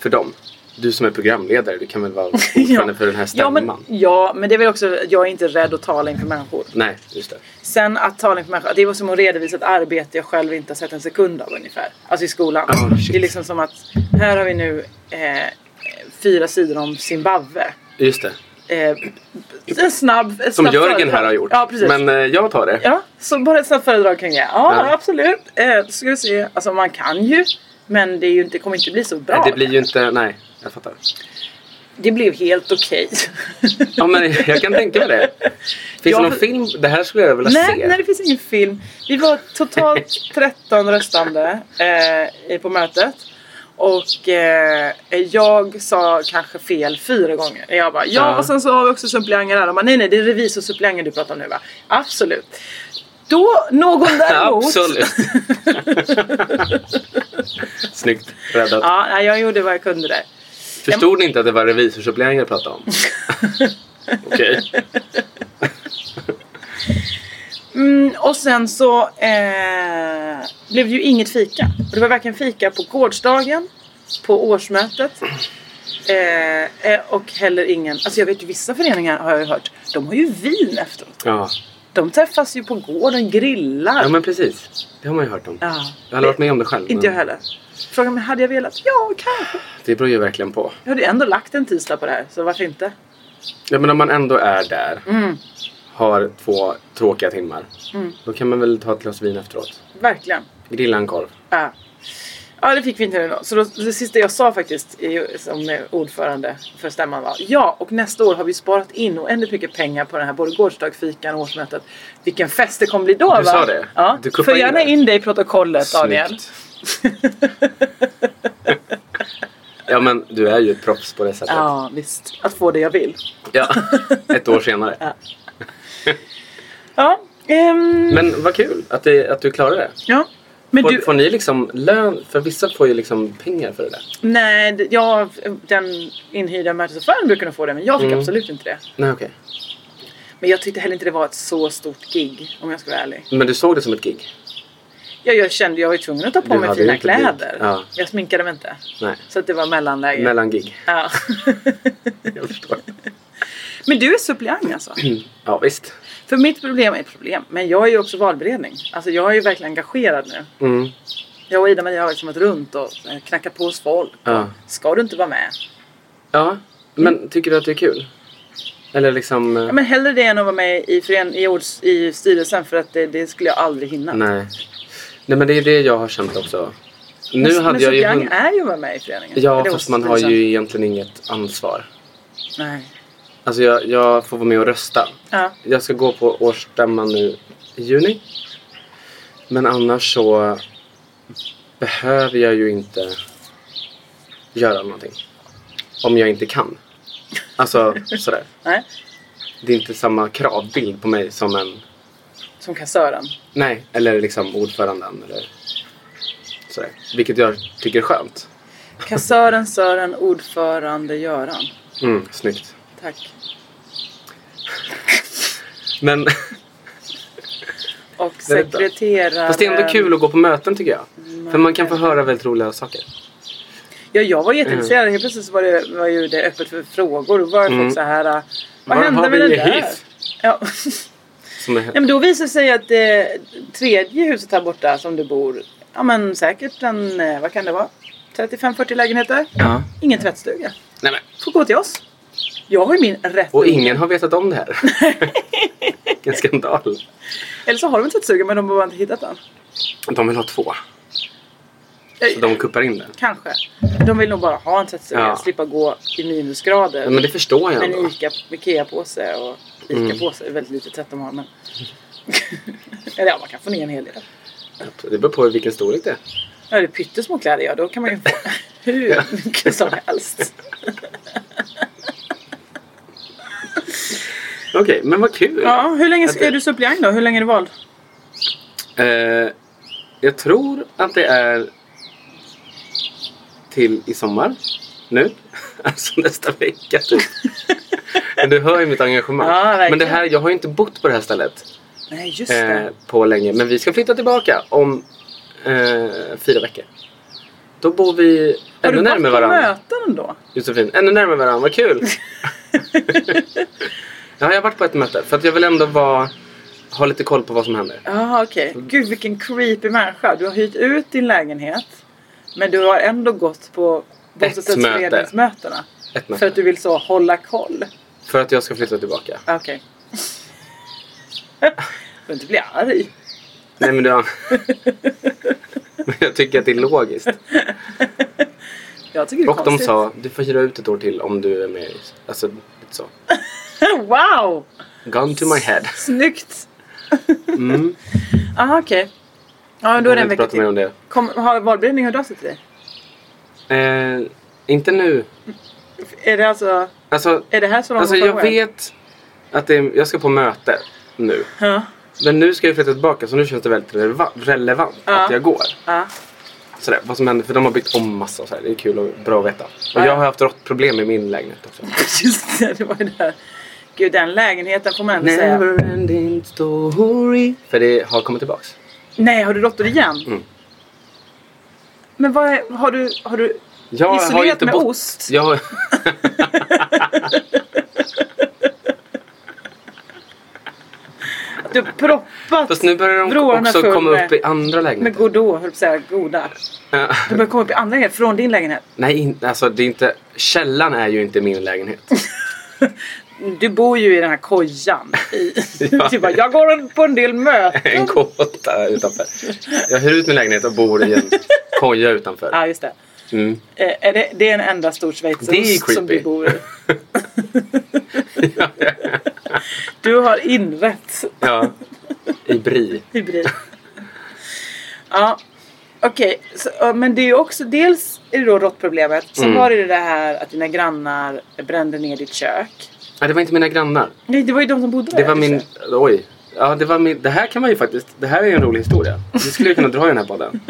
[SPEAKER 4] För dem. Du som är programledare, du kan väl vara ordförande för den här
[SPEAKER 3] ja,
[SPEAKER 4] stämman?
[SPEAKER 3] men, ja, men det är väl också, jag är inte rädd att tala inför människor.
[SPEAKER 4] Nej, just det.
[SPEAKER 3] Sen att tala inför människor, det var som att redovisa ett arbete jag själv inte har sett en sekund av ungefär. Alltså i skolan.
[SPEAKER 4] Ah, shit.
[SPEAKER 3] det är liksom som att här har vi nu eh, fyra sidor om Zimbabwe.
[SPEAKER 4] Just det.
[SPEAKER 3] Eh, en snabb, ett
[SPEAKER 4] Som
[SPEAKER 3] snabbt
[SPEAKER 4] Jörgen
[SPEAKER 3] föredrag.
[SPEAKER 4] här har gjort.
[SPEAKER 3] Ja, precis.
[SPEAKER 4] Men eh, jag tar det.
[SPEAKER 3] Ja, så bara ett snabbt föredrag kring det. Ja,
[SPEAKER 4] Ja.
[SPEAKER 3] absolut. Eh, då ska vi se. Alltså man kan ju. Men det, är ju, inte- det kommer inte bli så bra.
[SPEAKER 4] Nej, det blir ju inte... Nej, jag fattar.
[SPEAKER 3] Det blev helt okej.
[SPEAKER 4] Ja, men jag kan tänka mig det. Finns
[SPEAKER 3] Ja,
[SPEAKER 4] det någon
[SPEAKER 3] för-
[SPEAKER 4] film? Det här skulle jag vilja
[SPEAKER 3] Nej,
[SPEAKER 4] se.
[SPEAKER 3] nej, det finns ingen film. Vi var totalt 13 röstande eh, i- på mötet. Och eh, jag sa kanske fel fyra gånger. Jag bara, ja,
[SPEAKER 4] Ja.
[SPEAKER 3] och sen så har vi också suppleanter där. De bara, nej, nej, det är revisor och suppleanter du pratar om nu va? Absolut. Då, någon däremot.
[SPEAKER 4] Absolut. Snyggt räddat.
[SPEAKER 3] Ja, nej, jag gjorde vad jag kunde där.
[SPEAKER 4] Förstod ni inte att det var revisorsupplägg jag pratade om? Okej.
[SPEAKER 3] Mm, och sen så eh, blev det ju inget fika. Och det var varken fika på gårdsdagen, på årsmötet eh, eh, och heller ingen. Alltså jag vet ju vissa föreningar har jag ju hört. De har ju vin efteråt.
[SPEAKER 4] Ja.
[SPEAKER 3] De träffas ju på gården, grillar.
[SPEAKER 4] ja, men precis. Det har man ju hört om.
[SPEAKER 3] Ja.
[SPEAKER 4] Jag har aldrig varit med om det själv.
[SPEAKER 3] Inte jag
[SPEAKER 4] men
[SPEAKER 3] heller. Frågan mig, hade jag velat? Ja, kanske.
[SPEAKER 4] Det beror ju verkligen på.
[SPEAKER 3] Jag hade ju ändå lagt en tisdag på det här, så varför inte?
[SPEAKER 4] Ja, men om man ändå är där.
[SPEAKER 3] Mm.
[SPEAKER 4] Har två tråkiga timmar. Då kan man väl ta ett glas vin efteråt.
[SPEAKER 3] Verkligen.
[SPEAKER 4] Grilla en korv.
[SPEAKER 3] Ja. Ja, det fick vi inte nu då. Så då, det sista jag sa faktiskt i- som eh, ordförande för stämman var ja, och nästa år har vi sparat in oändligt mycket pengar på den här både gårdsdagfikan och årsmötet. Vilken fest det kommer bli då va?
[SPEAKER 4] Du sa det?
[SPEAKER 3] Ja.
[SPEAKER 4] Du kuppade
[SPEAKER 3] För
[SPEAKER 4] in
[SPEAKER 3] gärna
[SPEAKER 4] det.
[SPEAKER 3] in dig i protokollet Daniel.
[SPEAKER 4] Snyggt. ja, men du är ju ett proffs på det sättet.
[SPEAKER 3] Ja, visst. Att få det jag vill.
[SPEAKER 4] Ja. Ett år senare.
[SPEAKER 3] Ja, ehm,
[SPEAKER 4] Men vad kul att, det, att du klarade det.
[SPEAKER 3] ja. Men
[SPEAKER 4] Får,
[SPEAKER 3] du,
[SPEAKER 4] får ni liksom lön? För vissa får ju liksom pengar för det där.
[SPEAKER 3] nej, d- ja, den inhyrda mötesordföranden brukar nog få det, men jag fick
[SPEAKER 4] Mm.
[SPEAKER 3] absolut inte det.
[SPEAKER 4] Nej, okej.
[SPEAKER 3] Men jag tyckte heller inte det var ett så stort gig, om jag ska vara ärlig.
[SPEAKER 4] Men du såg det som ett gig?
[SPEAKER 3] Jag, jag kände jag var ju tvungen att ta på
[SPEAKER 4] Du
[SPEAKER 3] mig
[SPEAKER 4] hade
[SPEAKER 3] fina
[SPEAKER 4] ju inte blivit-
[SPEAKER 3] kläder.
[SPEAKER 4] Ja.
[SPEAKER 3] Jag sminkade mig inte.
[SPEAKER 4] Nej.
[SPEAKER 3] Så att det var mellanläge.
[SPEAKER 4] Mellangig.
[SPEAKER 3] ja.
[SPEAKER 4] Jag förstår.
[SPEAKER 3] men du är suppleant alltså?
[SPEAKER 4] Ja, visst.
[SPEAKER 3] För mitt problem är problem. Men jag är ju också valberedning. Alltså jag är ju verkligen engagerad nu.
[SPEAKER 4] Mm.
[SPEAKER 3] Jag och Ida-Maria har liksom varit runt och eh, knackat på hos folk.
[SPEAKER 4] Ja.
[SPEAKER 3] Ska du inte vara med?
[SPEAKER 4] ja. Men tycker du att det är kul? Eller liksom...
[SPEAKER 3] Ja, men hellre det än att vara med i, fören- i, ords- i styrelsen för att det, det skulle jag aldrig hinna.
[SPEAKER 4] Nej. Nej, men det är det jag har känt också. Nu
[SPEAKER 3] men
[SPEAKER 4] hade jag ju...
[SPEAKER 3] suppleant
[SPEAKER 4] hund-
[SPEAKER 3] är liksom. ju att vara med i föreningen.
[SPEAKER 4] Ja,
[SPEAKER 3] Eller
[SPEAKER 4] fast
[SPEAKER 3] hos
[SPEAKER 4] man har
[SPEAKER 3] styrelsen.
[SPEAKER 4] ju egentligen inget ansvar.
[SPEAKER 3] Nej.
[SPEAKER 4] Alltså, jag, jag får vara med och rösta.
[SPEAKER 3] Ja.
[SPEAKER 4] Jag ska gå på årsstämman nu i juni. Men annars så behöver jag ju inte göra någonting. Om jag inte kan. Alltså sådär.
[SPEAKER 3] Nej.
[SPEAKER 4] Det är inte samma kravbild på mig som en...
[SPEAKER 3] Som kassören.
[SPEAKER 4] Nej, eller liksom ordföranden eller sådär. Vilket jag tycker är skönt.
[SPEAKER 3] Kassören Sören, ordförande Göran.
[SPEAKER 4] Mm, snyggt.
[SPEAKER 3] Tack.
[SPEAKER 4] Men
[SPEAKER 3] Och
[SPEAKER 4] Väldigt bra.
[SPEAKER 3] sekreterare...
[SPEAKER 4] fast det är ändå kul att gå på möten tycker jag. För man kan få höra väldigt roliga saker.
[SPEAKER 3] Ja, jag
[SPEAKER 4] Mm.
[SPEAKER 3] var jätteintresserad. Helt plötsligt så var, det, var ju det öppet för frågor. Då var folk så här... äh,
[SPEAKER 4] Mm.
[SPEAKER 3] Vad
[SPEAKER 4] Var
[SPEAKER 3] hände
[SPEAKER 4] har
[SPEAKER 3] med
[SPEAKER 4] vi
[SPEAKER 3] det där?
[SPEAKER 4] hiss?
[SPEAKER 3] Ja.
[SPEAKER 4] Som är...
[SPEAKER 3] ja, men då visade det sig att det tredje huset här borta som du bor... Ja, men säkert en... eh, Vad kan det vara? 35-40 lägenheter.
[SPEAKER 4] Ja.
[SPEAKER 3] Ingen tvättstuga.
[SPEAKER 4] Nej, men.
[SPEAKER 3] Får gå till oss. Jag har ju min rätt.
[SPEAKER 4] Och ingen har vetat om det här. Vilken skandal.
[SPEAKER 3] Eller så har de en tvättstuga men de har bara inte hittat den.
[SPEAKER 4] De vill ha två. Så de kuppar in den.
[SPEAKER 3] Kanske. De vill nog bara ha en tvättstuga.
[SPEAKER 4] Ja.
[SPEAKER 3] Slippa gå i minusgrader.
[SPEAKER 4] Ja, Men det förstår jag
[SPEAKER 3] En
[SPEAKER 4] ändå. Mm.
[SPEAKER 3] Ica, Ikea-påse och Ica-påse. är Väldigt lite tvätt de har men... Eller ja, man kan få ner en hel del.
[SPEAKER 4] Det beror på vilken storlek det är.
[SPEAKER 3] Ja, det är pyttesmå kläder ja, då kan man ju få hur mycket som helst.
[SPEAKER 4] Okej, men vad kul.
[SPEAKER 3] Ja, hur länge
[SPEAKER 4] Okej.
[SPEAKER 3] är du suppleant då? Hur länge är du vald?
[SPEAKER 4] Eh, jag tror att det är till i sommar. Nu. Alltså nästa vecka typ. Men du hör ju mitt engagemang.
[SPEAKER 3] Ja, verkligen.
[SPEAKER 4] men det här, jag har ju inte bott på det här stället
[SPEAKER 3] Nej, just
[SPEAKER 4] eh,
[SPEAKER 3] det.
[SPEAKER 4] på länge. Men vi ska flytta tillbaka om eh, fyra veckor. Då bor vi
[SPEAKER 3] Har
[SPEAKER 4] ännu
[SPEAKER 3] du varit
[SPEAKER 4] närmare
[SPEAKER 3] på
[SPEAKER 4] varandra.
[SPEAKER 3] möten då?
[SPEAKER 4] Josefin, ännu närmare varandra, vad kul! ja, jag har varit på ett möte för att jag vill ändå vara, ha lite koll på vad som händer.
[SPEAKER 3] Ja, okej. Gud vilken creepy människa. Du har hyrt ut din lägenhet. Men du har ändå gått på bostadsrättsföreningsmötena.
[SPEAKER 4] Ett möte.
[SPEAKER 3] För att du vill så hålla koll.
[SPEAKER 4] För att jag ska flytta tillbaka.
[SPEAKER 3] Ja, Okej. Du behöver inte bli arg.
[SPEAKER 4] Nej men du har... Men jag tycker att det är logiskt.
[SPEAKER 3] Jag tycker det är
[SPEAKER 4] Och de
[SPEAKER 3] konstigt.
[SPEAKER 4] sa, du får hyra ut ett år till om du är med i... Alltså, lite så.
[SPEAKER 3] wow!
[SPEAKER 4] Gun to my head.
[SPEAKER 3] Snyggt!
[SPEAKER 4] Mm.
[SPEAKER 3] Aha, okej. Ja, då är det en vecka
[SPEAKER 4] prata mer om
[SPEAKER 3] till.
[SPEAKER 4] det.
[SPEAKER 3] Kom, har valberedningen hört av sig till dig?
[SPEAKER 4] Eh, inte nu.
[SPEAKER 3] Är det alltså...
[SPEAKER 4] Alltså,
[SPEAKER 3] Är det här så långt
[SPEAKER 4] alltså
[SPEAKER 3] förra
[SPEAKER 4] jag
[SPEAKER 3] året?
[SPEAKER 4] vet att det är, jag ska på möte nu.
[SPEAKER 3] Ja.
[SPEAKER 4] Men nu ska jag flytta tillbaka så nu känns det väldigt releva- relevant
[SPEAKER 3] Ja.
[SPEAKER 4] att jag går.
[SPEAKER 3] Ja.
[SPEAKER 4] Sådär, vad som händer, för de har byggt om massa och sådär. Det är kul och bra att veta.
[SPEAKER 3] Ja.
[SPEAKER 4] Och jag har haft rått problem i min lägenhet också.
[SPEAKER 3] Just det, det var ju där. Gud, den lägenheten får man ändå säga.
[SPEAKER 4] Never ending story. För det har kommit tillbaks.
[SPEAKER 3] Nej, har du råttor igen?
[SPEAKER 4] Mm.
[SPEAKER 3] Men vad är, har du... Har du
[SPEAKER 4] Jag har
[SPEAKER 3] isolerat
[SPEAKER 4] ju inte
[SPEAKER 3] med
[SPEAKER 4] bott-
[SPEAKER 3] ost?
[SPEAKER 4] Jag har...
[SPEAKER 3] Du har proppat
[SPEAKER 4] Fast nu börjar de
[SPEAKER 3] Vrårna
[SPEAKER 4] också
[SPEAKER 3] full
[SPEAKER 4] komma
[SPEAKER 3] med-
[SPEAKER 4] upp i andra
[SPEAKER 3] med
[SPEAKER 4] lägenheter.
[SPEAKER 3] Godot, höll jag på att säga. Goda.
[SPEAKER 4] Ja.
[SPEAKER 3] Du börjar komma upp i andra lägenhet från din lägenhet.
[SPEAKER 4] Nej, in, alltså det är inte... Källan är ju inte min lägenhet.
[SPEAKER 3] Du bor ju i den här kojan. I,
[SPEAKER 4] Ja.
[SPEAKER 3] du bara, jag går en- på en del möten.
[SPEAKER 4] En kåta utanför. Jag hyr ut min lägenhet och bor i en koja utanför.
[SPEAKER 3] Ja, just det.
[SPEAKER 4] Mm.
[SPEAKER 3] Eh, är det, det är en enda stor
[SPEAKER 4] Det är
[SPEAKER 3] schweizerost
[SPEAKER 4] creepy.
[SPEAKER 3] som du bor i. du har invett
[SPEAKER 4] Ja. I Bri.
[SPEAKER 3] hybrid. ja, okej. Så, ja, Men det är ju också dels är det då råttproblemet. Sen
[SPEAKER 4] Mm.
[SPEAKER 3] var det ju det här att dina grannar brände ner ditt kök.
[SPEAKER 4] Nej, det var inte mina grannar.
[SPEAKER 3] Nej, det var ju de som bodde där.
[SPEAKER 4] Det var
[SPEAKER 3] i
[SPEAKER 4] min...
[SPEAKER 3] kök.
[SPEAKER 4] Oj. Ja, det var min... Det här kan man ju faktiskt... Det här är ju en rolig historia. Det skulle jag kunna dra i den här podden.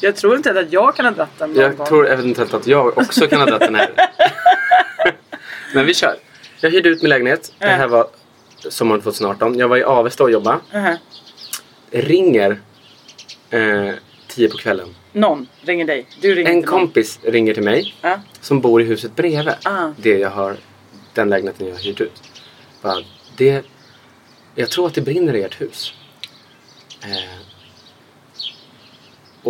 [SPEAKER 3] Jag tror inte att jag kan ha dratt den någon gång.
[SPEAKER 4] Jag tror eventuellt att jag också kan ha dragit den här. Men vi kör. Jag hyrde ut min lägenhet. Det här
[SPEAKER 3] Mm.
[SPEAKER 4] var sommaren 2018. Jag var i Avesta och jobbade.
[SPEAKER 3] Mhm.
[SPEAKER 4] Ringer eh, tio på kvällen.
[SPEAKER 3] Någon ringer dig. Du ringer
[SPEAKER 4] En
[SPEAKER 3] inte någon.
[SPEAKER 4] kompis ringer till mig
[SPEAKER 3] Ja.
[SPEAKER 4] som bor i huset bredvid.
[SPEAKER 3] Ah.
[SPEAKER 4] Det jag har, den lägenheten jag har hyrt ut. Bara, det, jag tror att det brinner i ert hus. Eh,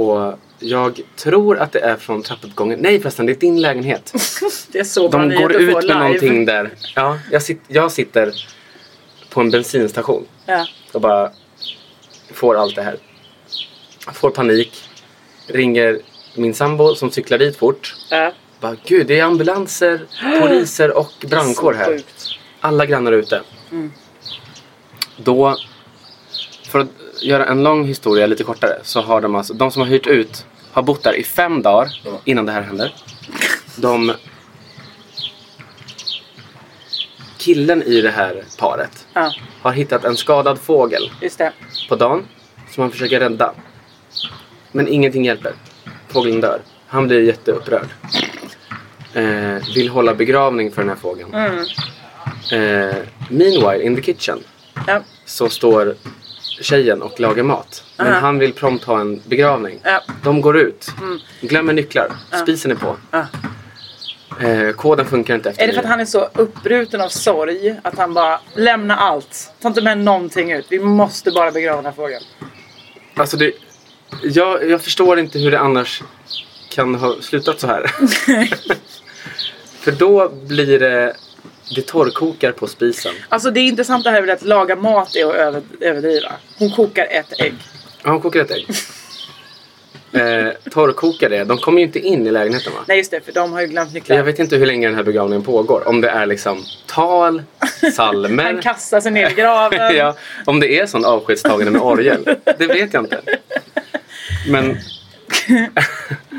[SPEAKER 4] och jag tror att det är från trappuppgången. Nej förresten, det är din lägenhet.
[SPEAKER 3] Det är så man
[SPEAKER 4] De
[SPEAKER 3] nyheter
[SPEAKER 4] går
[SPEAKER 3] får
[SPEAKER 4] ut med
[SPEAKER 3] live.
[SPEAKER 4] någonting där. Ja, jag, sit, jag sitter på en bensinstation
[SPEAKER 3] Ja.
[SPEAKER 4] och bara får allt det här. Får panik. Ringer min sambo som cyklar dit fort.
[SPEAKER 3] Ja.
[SPEAKER 4] Bara, Gud, det är ambulanser, poliser och brandkår
[SPEAKER 3] Så
[SPEAKER 4] här.
[SPEAKER 3] sjukt. Mm.
[SPEAKER 4] Alla grannar är ute. Då, för att göra en lång historia lite kortare, så har de alltså, de som har hyrt ut har bott där i fem dagar innan det här händer. De... Killen i det här paret
[SPEAKER 3] Ja,
[SPEAKER 4] har hittat en skadad fågel
[SPEAKER 3] just det.
[SPEAKER 4] på dagen som han försöker rädda. Men ingenting hjälper. Fågeln dör. Han blir jätteupprörd. Eh, vill hålla begravning för den här fågeln.
[SPEAKER 3] Mm.
[SPEAKER 4] Eh, meanwhile, in the kitchen
[SPEAKER 3] Ja,
[SPEAKER 4] så står tjejen och lagar mat. Men
[SPEAKER 3] Aha.
[SPEAKER 4] han vill prompt ha en begravning.
[SPEAKER 3] Ja. Mm.
[SPEAKER 4] De går ut, glömmer nycklar, spisen är på.
[SPEAKER 3] ja.
[SPEAKER 4] Eh, koden funkar inte efter
[SPEAKER 3] Ah. Är det för att
[SPEAKER 4] nio.
[SPEAKER 3] han är så uppbruten av sorg att han bara lämna allt. Ta inte med någonting ut. Vi måste bara begrava den här frågan.
[SPEAKER 4] Alltså det, jag, jag förstår inte hur det annars kan ha slutat så här. För då blir det... Det torrkokar på spisen.
[SPEAKER 3] Alltså det är intressant det här med att laga mat är att över, överdriva. Hon kokar ett ägg.
[SPEAKER 4] Ja, hon kokar ett ägg. Eh, torrkokar det. De kommer ju inte in i lägenheten va?
[SPEAKER 3] Nej just det, för de har ju glömt nycklar.
[SPEAKER 4] Jag vet inte hur länge den här begravningen pågår. Om det är liksom tal,
[SPEAKER 3] Han
[SPEAKER 4] salmer.
[SPEAKER 3] kastar sig ner i graven.
[SPEAKER 4] ja, om det är sån avskedstagande med orgel. Det vet jag inte. Men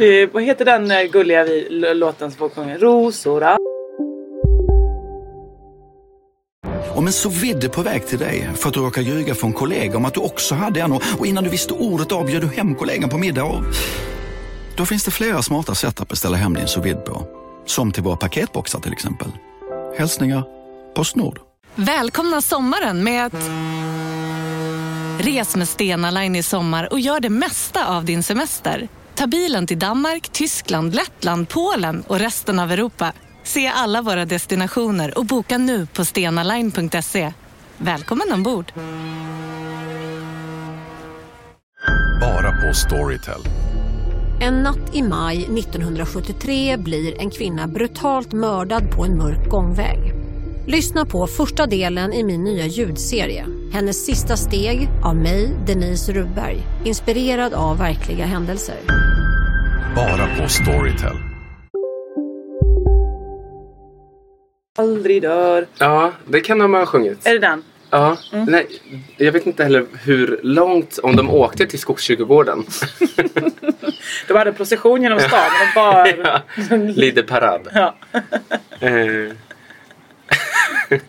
[SPEAKER 3] Eh, vad heter den eh, gulliga vi, l- låten som folk sjunger? Rosorna.
[SPEAKER 5] Om en så vidde på väg till dig för att du råkar ljuga från kollega om att du också hade en och och innan du visste ordet av bjöd du hem kollegan på middag och... Då finns det flera smarta sätt att beställa hem din sous vide på. Som till våra paketboxar till exempel. Hälsningar Postnord.
[SPEAKER 6] Välkomna sommaren med att... Res med Stena Line i sommar och gör det mesta av din semester. Ta bilen till Danmark, Tyskland, Lettland, Polen och resten av Europa. Se alla våra destinationer och boka nu på stenaline.se. Välkommen ombord!
[SPEAKER 7] Bara på Storytel.
[SPEAKER 8] En natt i maj 1973 blir en kvinna brutalt mördad på en mörk gångväg. Lyssna på första delen i min nya ljudserie. Hennes sista steg av mig, Denise Rubberg. Inspirerad av verkliga händelser.
[SPEAKER 7] Bara på Storytel.
[SPEAKER 3] aldrig dör.
[SPEAKER 4] Ja, det kan de ha sjungit.
[SPEAKER 3] Är det den?
[SPEAKER 4] Ja.
[SPEAKER 3] Mm.
[SPEAKER 4] Nej, jag vet inte heller hur långt, om de åkte till Skogskyrkogården.
[SPEAKER 3] De hade en procession genom stan. De bara... ja.
[SPEAKER 4] Lide parad.
[SPEAKER 3] Ja.
[SPEAKER 4] Eh.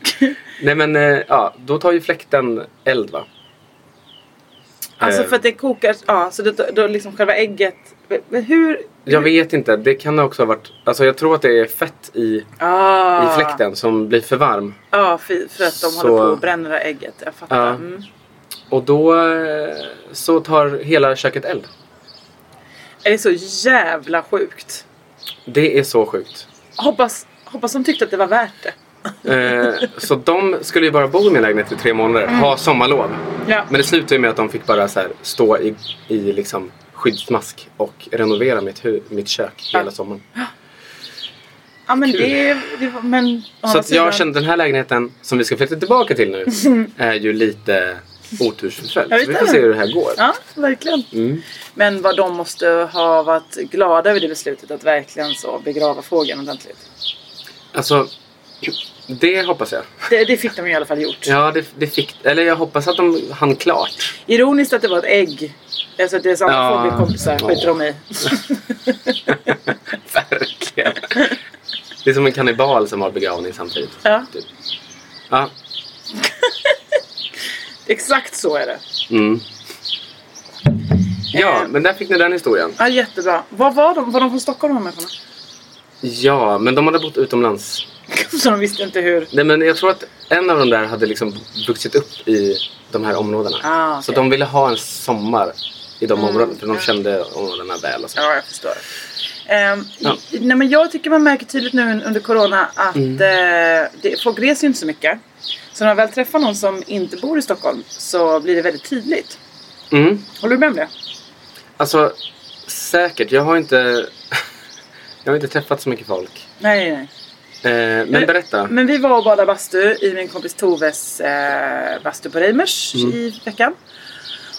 [SPEAKER 4] Nej men, eh, ja, då tar ju fläkten eld va?
[SPEAKER 3] Alltså
[SPEAKER 4] Eh.
[SPEAKER 3] för att det kokar. Ja, så då, då liksom själva ägget. Men hur?
[SPEAKER 4] Jag vet inte, det kan också ha varit, alltså jag tror att det är fett i,
[SPEAKER 3] Ah.
[SPEAKER 4] i fläkten som blir för varm.
[SPEAKER 3] Ja, för, för att de
[SPEAKER 4] Så-
[SPEAKER 3] håller på och bränner det här ägget. Jag fattar.
[SPEAKER 4] Ja.
[SPEAKER 3] Mm.
[SPEAKER 4] Och då eh, så tar hela köket eld.
[SPEAKER 3] Är det så jävla sjukt?
[SPEAKER 4] Det är så sjukt.
[SPEAKER 3] Hoppas, hoppas de tyckte att det var värt det.
[SPEAKER 4] Eh, så de skulle ju bara bo i min lägenhet i tre månader,
[SPEAKER 3] Mm.
[SPEAKER 4] ha sommarlov.
[SPEAKER 3] Ja.
[SPEAKER 4] Men det slutade ju med att de fick bara så här, stå i, i liksom skyddsmask och renovera mitt, hu- mitt kök hela sommaren.
[SPEAKER 3] Ja men
[SPEAKER 4] Kul.
[SPEAKER 3] det, det var- men, å
[SPEAKER 4] Så
[SPEAKER 3] andra
[SPEAKER 4] att jag
[SPEAKER 3] sidan-
[SPEAKER 4] kände den här lägenheten som vi ska flytta tillbaka till nu är ju lite otursförföljd. Så
[SPEAKER 3] Ja, visst
[SPEAKER 4] vi
[SPEAKER 3] är
[SPEAKER 4] får
[SPEAKER 3] den.
[SPEAKER 4] se hur det här går.
[SPEAKER 3] Ja, verkligen.
[SPEAKER 4] Mm.
[SPEAKER 3] Men vad de måste ha varit glada över det beslutet att verkligen så begrava fågeln ordentligt.
[SPEAKER 4] Alltså, det hoppas jag.
[SPEAKER 3] Det, det fick de i alla fall gjort.
[SPEAKER 4] Ja, det, det fick... Eller jag hoppas att de hann klart.
[SPEAKER 3] Ironiskt att det var ett ägg. Alltså att det är samma
[SPEAKER 4] Ja.
[SPEAKER 3] fågelkompisar skiter de i.
[SPEAKER 4] Verkligen. Det är som en kannibal som har begravning samtidigt. Typ.
[SPEAKER 3] Ja,
[SPEAKER 4] Ja.
[SPEAKER 3] exakt så är det.
[SPEAKER 4] Mm. Ja,
[SPEAKER 3] Eh.
[SPEAKER 4] men där fick ni den historien.
[SPEAKER 3] Ja, jättebra. Vad var de? Var de från Stockholm de här människorna?
[SPEAKER 4] Ja, men de hade bott utomlands.
[SPEAKER 3] Så de visste inte hur.
[SPEAKER 4] Nej, men jag tror att en av dem där hade liksom vuxit upp i de här områdena.
[SPEAKER 3] Ah, okej. Mm,
[SPEAKER 4] Så de ville ha en sommar i de områdena, för de kände områdena väl. Och så.
[SPEAKER 3] Ja, jag förstår. Ehm,
[SPEAKER 4] Ja.
[SPEAKER 3] i- nej, men jag tycker man märker tydligt nu under corona att eh, det, folk reser ju inte så mycket. Så när man väl träffar någon som inte bor i Stockholm så blir det väldigt tydligt.
[SPEAKER 4] Mm.
[SPEAKER 3] Håller du med om det?
[SPEAKER 4] Alltså, säkert. Jag har inte... Jag har inte träffat så mycket folk.
[SPEAKER 3] Nej, nej.
[SPEAKER 4] Eh, men berätta.
[SPEAKER 3] Men vi var och badade bastu i min kompis Toves eh, bastu på Reimers
[SPEAKER 4] Mm.
[SPEAKER 3] i veckan.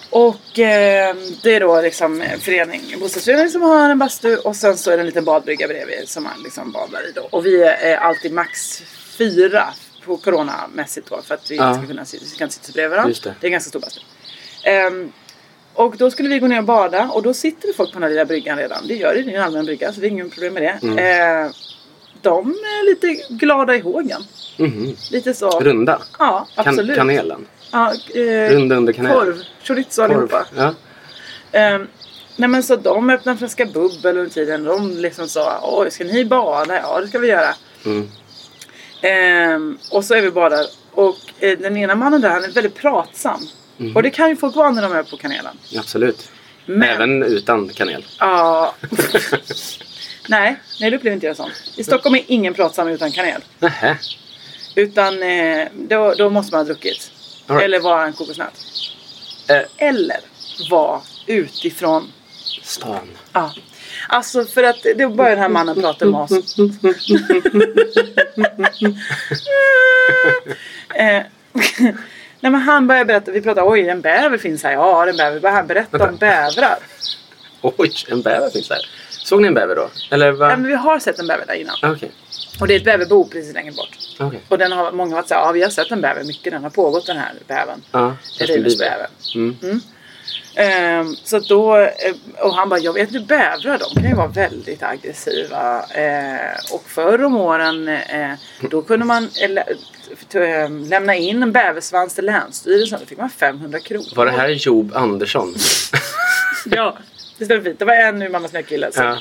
[SPEAKER 3] Och eh, det är då liksom en förening, en bostadsförening som har en bastu och sen så är det en liten badbrygga bredvid som man liksom badar i då. Och vi är alltid max fyra på coronamässigt då för att vi
[SPEAKER 4] Ja.
[SPEAKER 3] inte ska kunna sitta, vi kan inte sitta bredvid varandra.
[SPEAKER 4] Just det.
[SPEAKER 3] är en ganska stor bastu. Ehm, och då skulle vi gå ner och bada och då sitter det folk på den här lilla bryggan redan. Det gör det, det är en allmän brygga så det är inget problem med det.
[SPEAKER 4] Mm.
[SPEAKER 3] Eh, de är lite glada i hågen.
[SPEAKER 4] Mhm.
[SPEAKER 3] Lite så.
[SPEAKER 4] Runda.
[SPEAKER 3] Ja,
[SPEAKER 4] Kan,
[SPEAKER 3] absolut.
[SPEAKER 4] kanelen.
[SPEAKER 3] Ja, eh,
[SPEAKER 4] Runda under kanelen.
[SPEAKER 3] Korv, chorizo allihopa.
[SPEAKER 4] Ja.
[SPEAKER 3] Eh, nej men så de öppnar en flaska bubbel under tiden. De liksom sa oj ska ni bada? Ja det ska vi göra.
[SPEAKER 4] Mm.
[SPEAKER 3] Ehm, och så är vi badar. Och eh, den ena mannen där han är väldigt pratsam.
[SPEAKER 4] Mhm.
[SPEAKER 3] Och det kan ju folk vara när de är på kanelen.
[SPEAKER 4] Absolut.
[SPEAKER 3] Men,
[SPEAKER 4] Även utan kanel.
[SPEAKER 3] ja. nej, nej det upplever inte jag sånt. I Stockholm är ingen pratsam utan kanel.
[SPEAKER 4] Nähä.
[SPEAKER 3] Utan eh, då, då måste man ha druckit.
[SPEAKER 4] All right.
[SPEAKER 3] Eller vara en kokosnöt.
[SPEAKER 4] Eh,
[SPEAKER 3] Eller vara utifrån.
[SPEAKER 4] stan.
[SPEAKER 3] Ja. Alltså för att det börjar den här mannen prata med oss. eh, Nej men han börjar berätta, vi pratar oj en bäver finns här, ja en bäver. Börjar han berätta om bävrar?
[SPEAKER 4] Oj, en bäver finns där. Såg ni en bäver då? Eller
[SPEAKER 3] Ja,
[SPEAKER 4] va?
[SPEAKER 3] men vi har sett en bäver där innan.
[SPEAKER 4] Okej. Okay.
[SPEAKER 3] Och det är ett bäverbo precis längre bort. Och den har, många har varit såhär, ja vi har sett en bäver mycket, den har pågått den här bävern.
[SPEAKER 4] Ja,
[SPEAKER 3] Reiders bäver.
[SPEAKER 4] Mm.
[SPEAKER 3] Ehm, så att då, eh, och han bara, jag vet inte bävrar de kan ju vara väldigt aggressiva. Eh, och förr om åren eh, då kunde man eh, lä- t- eh, lämna in en bäversvans till Länsstyrelsen. Då fick man 500 kronor.
[SPEAKER 4] Var det här Job Andersson?
[SPEAKER 3] Ja, det stämmer fint. Det var en ur Mamma Snö-kille. så.
[SPEAKER 4] ja.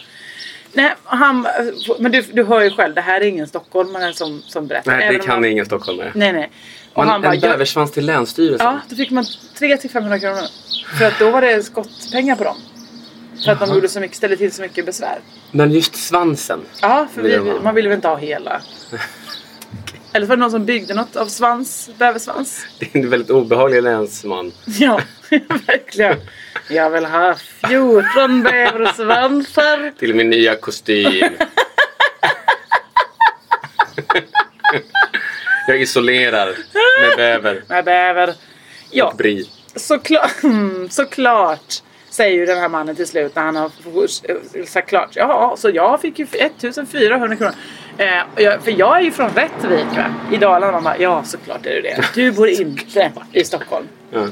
[SPEAKER 3] Nej, han, eh, men du, du hör ju själv, det här är ingen stockholmare som, som berättar.
[SPEAKER 4] Nej,
[SPEAKER 3] Även
[SPEAKER 4] det
[SPEAKER 3] om
[SPEAKER 4] kan
[SPEAKER 3] han,
[SPEAKER 4] ingen stockholmare.
[SPEAKER 3] Nej, nej. Och
[SPEAKER 4] Man,
[SPEAKER 3] han bara,
[SPEAKER 4] en
[SPEAKER 3] "Jag-
[SPEAKER 4] bäversvans till Länsstyrelsen?
[SPEAKER 3] Ja, då fick man 3 till 500 kronor. För att då var det skottpengar på dem. För att de gjorde så mycket, ställde till så mycket besvär.
[SPEAKER 4] Men just svansen?
[SPEAKER 3] Ja, för vi,
[SPEAKER 4] Vill de ha?
[SPEAKER 3] man ville väl inte ha hela. Eller var det någon som byggde något av svans, bäversvans?
[SPEAKER 4] Det är en väldigt obehaglig länsman.
[SPEAKER 3] Ja, verkligen. Jag vill ha 14 bäversvansar.
[SPEAKER 4] Till min nya kostym. Jag isolerar med bäver
[SPEAKER 3] Med bäver. Ja,
[SPEAKER 4] och bri.
[SPEAKER 3] såklart, såklart säger ju den här mannen till slut när han har f- f- sagt klart. Ja, så jag fick ju 1400 kronor. Eh, och jag, för jag är ju från Rättvik va? i Dalarna. Man bara, ja såklart är du det. Du bor inte i Stockholm.
[SPEAKER 4] Ja.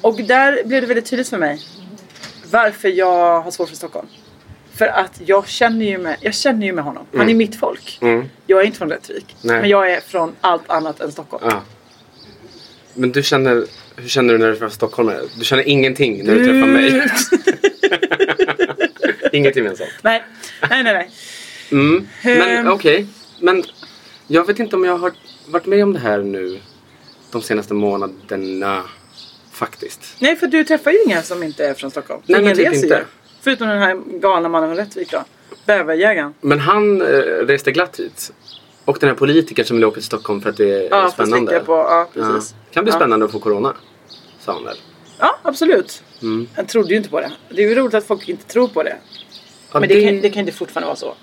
[SPEAKER 3] Och där blev det väldigt tydligt för mig varför jag har svårt för Stockholm. För att jag känner ju med, jag känner ju med honom. Han är
[SPEAKER 4] Mm.
[SPEAKER 3] mitt folk.
[SPEAKER 4] Mm.
[SPEAKER 3] Jag är inte från Rättvik.
[SPEAKER 4] Nej.
[SPEAKER 3] Men jag är från allt annat än Stockholm.
[SPEAKER 4] Ja. Men du känner, hur känner du när du träffar stockholmare? Du känner ingenting när du träffar mig.
[SPEAKER 3] Mm.
[SPEAKER 4] Inget gemensamt.
[SPEAKER 3] nej. nej, nej, nej.
[SPEAKER 4] Mm. Men
[SPEAKER 3] Ehm.
[SPEAKER 4] okej. Men jag vet inte om jag har varit med om det här nu de senaste månaderna faktiskt.
[SPEAKER 3] Nej, för du träffar ju inga som inte är från Stockholm.
[SPEAKER 4] Nej, men
[SPEAKER 3] Ingen
[SPEAKER 4] typ
[SPEAKER 3] reser
[SPEAKER 4] inte.
[SPEAKER 3] ju. Förutom den här galna mannen från Rättvik då. Bäverjägaren.
[SPEAKER 4] Men han eh, reste glatt hit. Och den här politikern som vill åka till Stockholm för att det är
[SPEAKER 3] Ja, för att
[SPEAKER 4] spännande.
[SPEAKER 3] sticka på. Ja, precis.
[SPEAKER 4] Ja. Kan bli
[SPEAKER 3] Ja.
[SPEAKER 4] spännande att få corona. Sa han väl?
[SPEAKER 3] Ja, absolut.
[SPEAKER 4] Mm.
[SPEAKER 3] Han trodde ju inte på det. Det är ju roligt att folk inte tror på
[SPEAKER 4] Ja,
[SPEAKER 3] det. men det, Kan, det kan inte fortfarande vara så.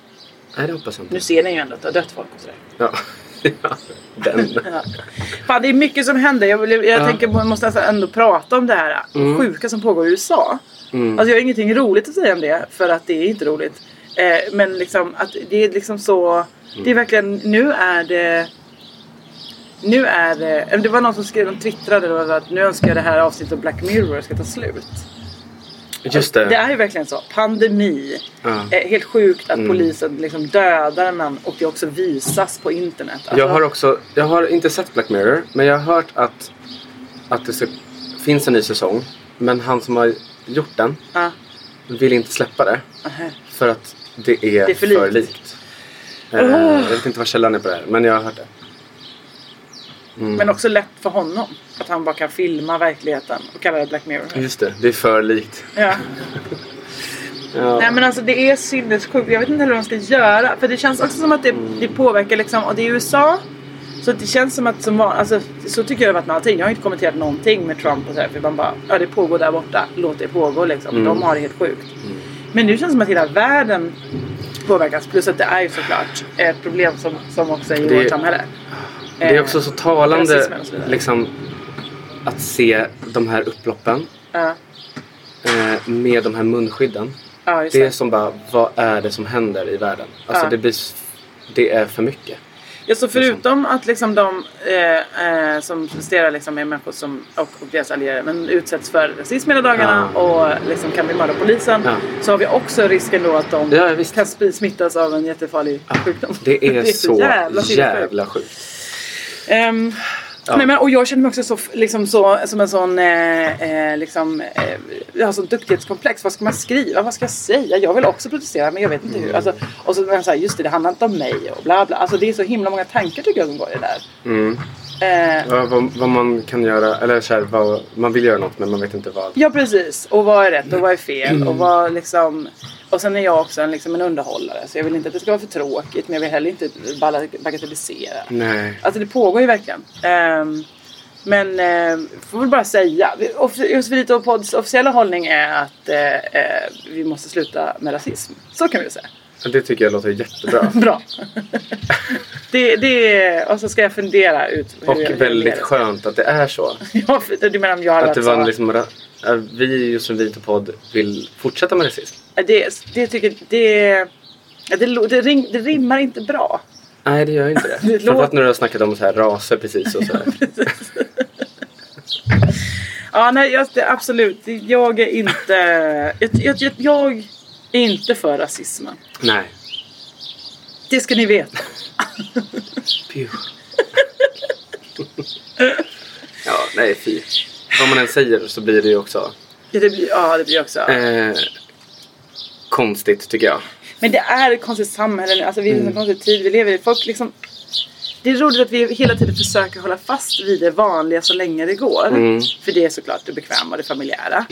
[SPEAKER 4] Nej, det hoppas jag inte.
[SPEAKER 3] Nu ser ni ju ändå att det har dött folk och sådär.
[SPEAKER 4] Ja. den.
[SPEAKER 3] Ja. Fan, det är mycket som händer. Jag, vill, jag
[SPEAKER 4] Ja.
[SPEAKER 3] tänker på, jag måste nästan ändå prata om det här
[SPEAKER 4] Mm.
[SPEAKER 3] sjuka som pågår i USA.
[SPEAKER 4] Mm.
[SPEAKER 3] Alltså jag har ingenting roligt att säga om det för att det är inte roligt. Eh, men liksom att det är liksom så.
[SPEAKER 4] Mm.
[SPEAKER 3] Det är verkligen, nu är det. Nu är det. eller Det var någon som skrev, de twittrade då att nu önskar jag det här avsnittet av Black Mirror ska ta slut.
[SPEAKER 4] Just det.
[SPEAKER 3] Det är ju verkligen så. Pandemi.
[SPEAKER 4] Ja.
[SPEAKER 3] Eh, helt sjukt att
[SPEAKER 4] Mm.
[SPEAKER 3] polisen liksom dödar man och det också visas på internet. Alltså,
[SPEAKER 4] Jag har också, jag har inte sett Black Mirror, men jag har hört att, att det ska, finns en ny säsong. Men han som har gjort den
[SPEAKER 3] Ja.
[SPEAKER 4] vill inte släppa det.
[SPEAKER 3] Aha.
[SPEAKER 4] För att det är,
[SPEAKER 3] Det är för likt. Oh.
[SPEAKER 4] Eh,
[SPEAKER 3] Åh.
[SPEAKER 4] Jag vet inte vad källan är på det här, men jag har hört det. Mm.
[SPEAKER 3] Men också lätt för honom. Att han bara kan filma verkligheten och kalla det Black Mirror.
[SPEAKER 4] Just det, det är för likt.
[SPEAKER 3] Ja.
[SPEAKER 4] Ja.
[SPEAKER 3] Nej men alltså det är sinnessjukt. Jag vet inte heller vad de ska göra. För det känns också som att det,
[SPEAKER 4] Mm.
[SPEAKER 3] det påverkar liksom. Och det är USA. Så att det känns som att som van, alltså, så tycker jag det har varit med allting. Jag har inte kommenterat någonting med Trump och sådär. För man bara, ja det pågår där borta. Låt det pågå liksom.
[SPEAKER 4] Mm.
[SPEAKER 3] De har det helt sjukt. Men nu känns det som att hela världen påverkas. Plus att det är ju såklart ett problem som, som också är i
[SPEAKER 4] Det-
[SPEAKER 3] vårt samhälle.
[SPEAKER 4] Det är
[SPEAKER 3] Eh,
[SPEAKER 4] också så
[SPEAKER 3] rasismen
[SPEAKER 4] talande
[SPEAKER 3] och så vidare.
[SPEAKER 4] liksom, att se de här upploppen
[SPEAKER 3] Ja,
[SPEAKER 4] eh, med de här munskydden.
[SPEAKER 3] ja just
[SPEAKER 4] Det är
[SPEAKER 3] det.
[SPEAKER 4] som bara, vad är det som händer i världen? Alltså
[SPEAKER 3] Ja.
[SPEAKER 4] det, blir, s- det är för mycket.
[SPEAKER 3] Ja, så förutom att liksom de eh, eh, som protesterar liksom är människor som, och, och deras allierade men utsätts för rasism hela dagarna
[SPEAKER 4] Ja.
[SPEAKER 3] och liksom kan bli mörda av polisen
[SPEAKER 4] Ja.
[SPEAKER 3] så har vi också risken då att de
[SPEAKER 4] Ja, visst.
[SPEAKER 3] kan sp- smittas av en jättefarlig sjukdom.
[SPEAKER 4] Det är, så jävla,
[SPEAKER 3] sinnessjukt.
[SPEAKER 4] sjukt.
[SPEAKER 3] Ehm,
[SPEAKER 4] Ja.
[SPEAKER 3] Nej, men, och jag känner mig också så, f- liksom, så, som en sån... Eh, eh, liksom, eh, jag har sån duktighetskomplex. Vad ska man skriva? Vad ska jag säga? Jag vill också protestera men jag vet inte hur. Alltså, och så, men, så här, just det, det handlar inte om mig och bla bla. Alltså, det är så himla många tankar tycker jag som går i det där.
[SPEAKER 4] Mm.
[SPEAKER 3] Eh,
[SPEAKER 4] Ja, vad, vad man kan göra, eller så här, vad, man vill göra något men man vet inte vad.
[SPEAKER 3] Ja precis. Och vad är rätt och vad är fel. Och, vad, liksom... och sen är jag också en, liksom, en underhållare. Så jag vill inte att det ska vara för tråkigt. Men jag vill heller inte balla- bagatellisera.
[SPEAKER 4] Nej.
[SPEAKER 3] Alltså det pågår ju verkligen. Ehm, men eh, får väl bara säga. vi- off- Josefinito och Pods officiella hållning är att eh, eh, vi måste sluta med rasism. Så kan vi väl säga.
[SPEAKER 4] Det tycker jag låter jättebra.
[SPEAKER 3] Bra. det, det är, och så ska jag fundera ut hur
[SPEAKER 4] Och
[SPEAKER 3] jag gör
[SPEAKER 4] väldigt
[SPEAKER 3] det.
[SPEAKER 4] skönt att det är så.
[SPEAKER 3] Ja, för- du menar om jag hade
[SPEAKER 4] Att det
[SPEAKER 3] varit
[SPEAKER 4] var
[SPEAKER 3] så-
[SPEAKER 4] liksom, ra- äh, vi just en vit podd vill fortsätta med rasism.
[SPEAKER 3] Ja, Det, det tycker det, ja, det, lo- det, ring, det rimmar inte bra.
[SPEAKER 4] Nej det gör inte det.
[SPEAKER 3] låter-
[SPEAKER 4] Framförallt när du har snackat om så här raser precis och så här.
[SPEAKER 3] Ja, nej, jag, det, absolut. Det- Jag är inte... Jag, jag, jag, jag är inte för rasismen.
[SPEAKER 4] Nej.
[SPEAKER 3] Det ska ni veta.
[SPEAKER 4] Pew. ja, nej fy. Vad man än säger så blir det ju också
[SPEAKER 3] Ja, det blir, ja, det blir också.
[SPEAKER 4] eh, konstigt tycker jag.
[SPEAKER 3] Men det är ett konstigt samhälle nu. Alltså, vi är i en
[SPEAKER 4] Mm.
[SPEAKER 3] konstig tid vi lever i. Folk liksom, det är roligt att vi hela tiden försöker hålla fast vid det vanliga så länge det går.
[SPEAKER 4] Mm.
[SPEAKER 3] För det är såklart det bekväma och det familjära.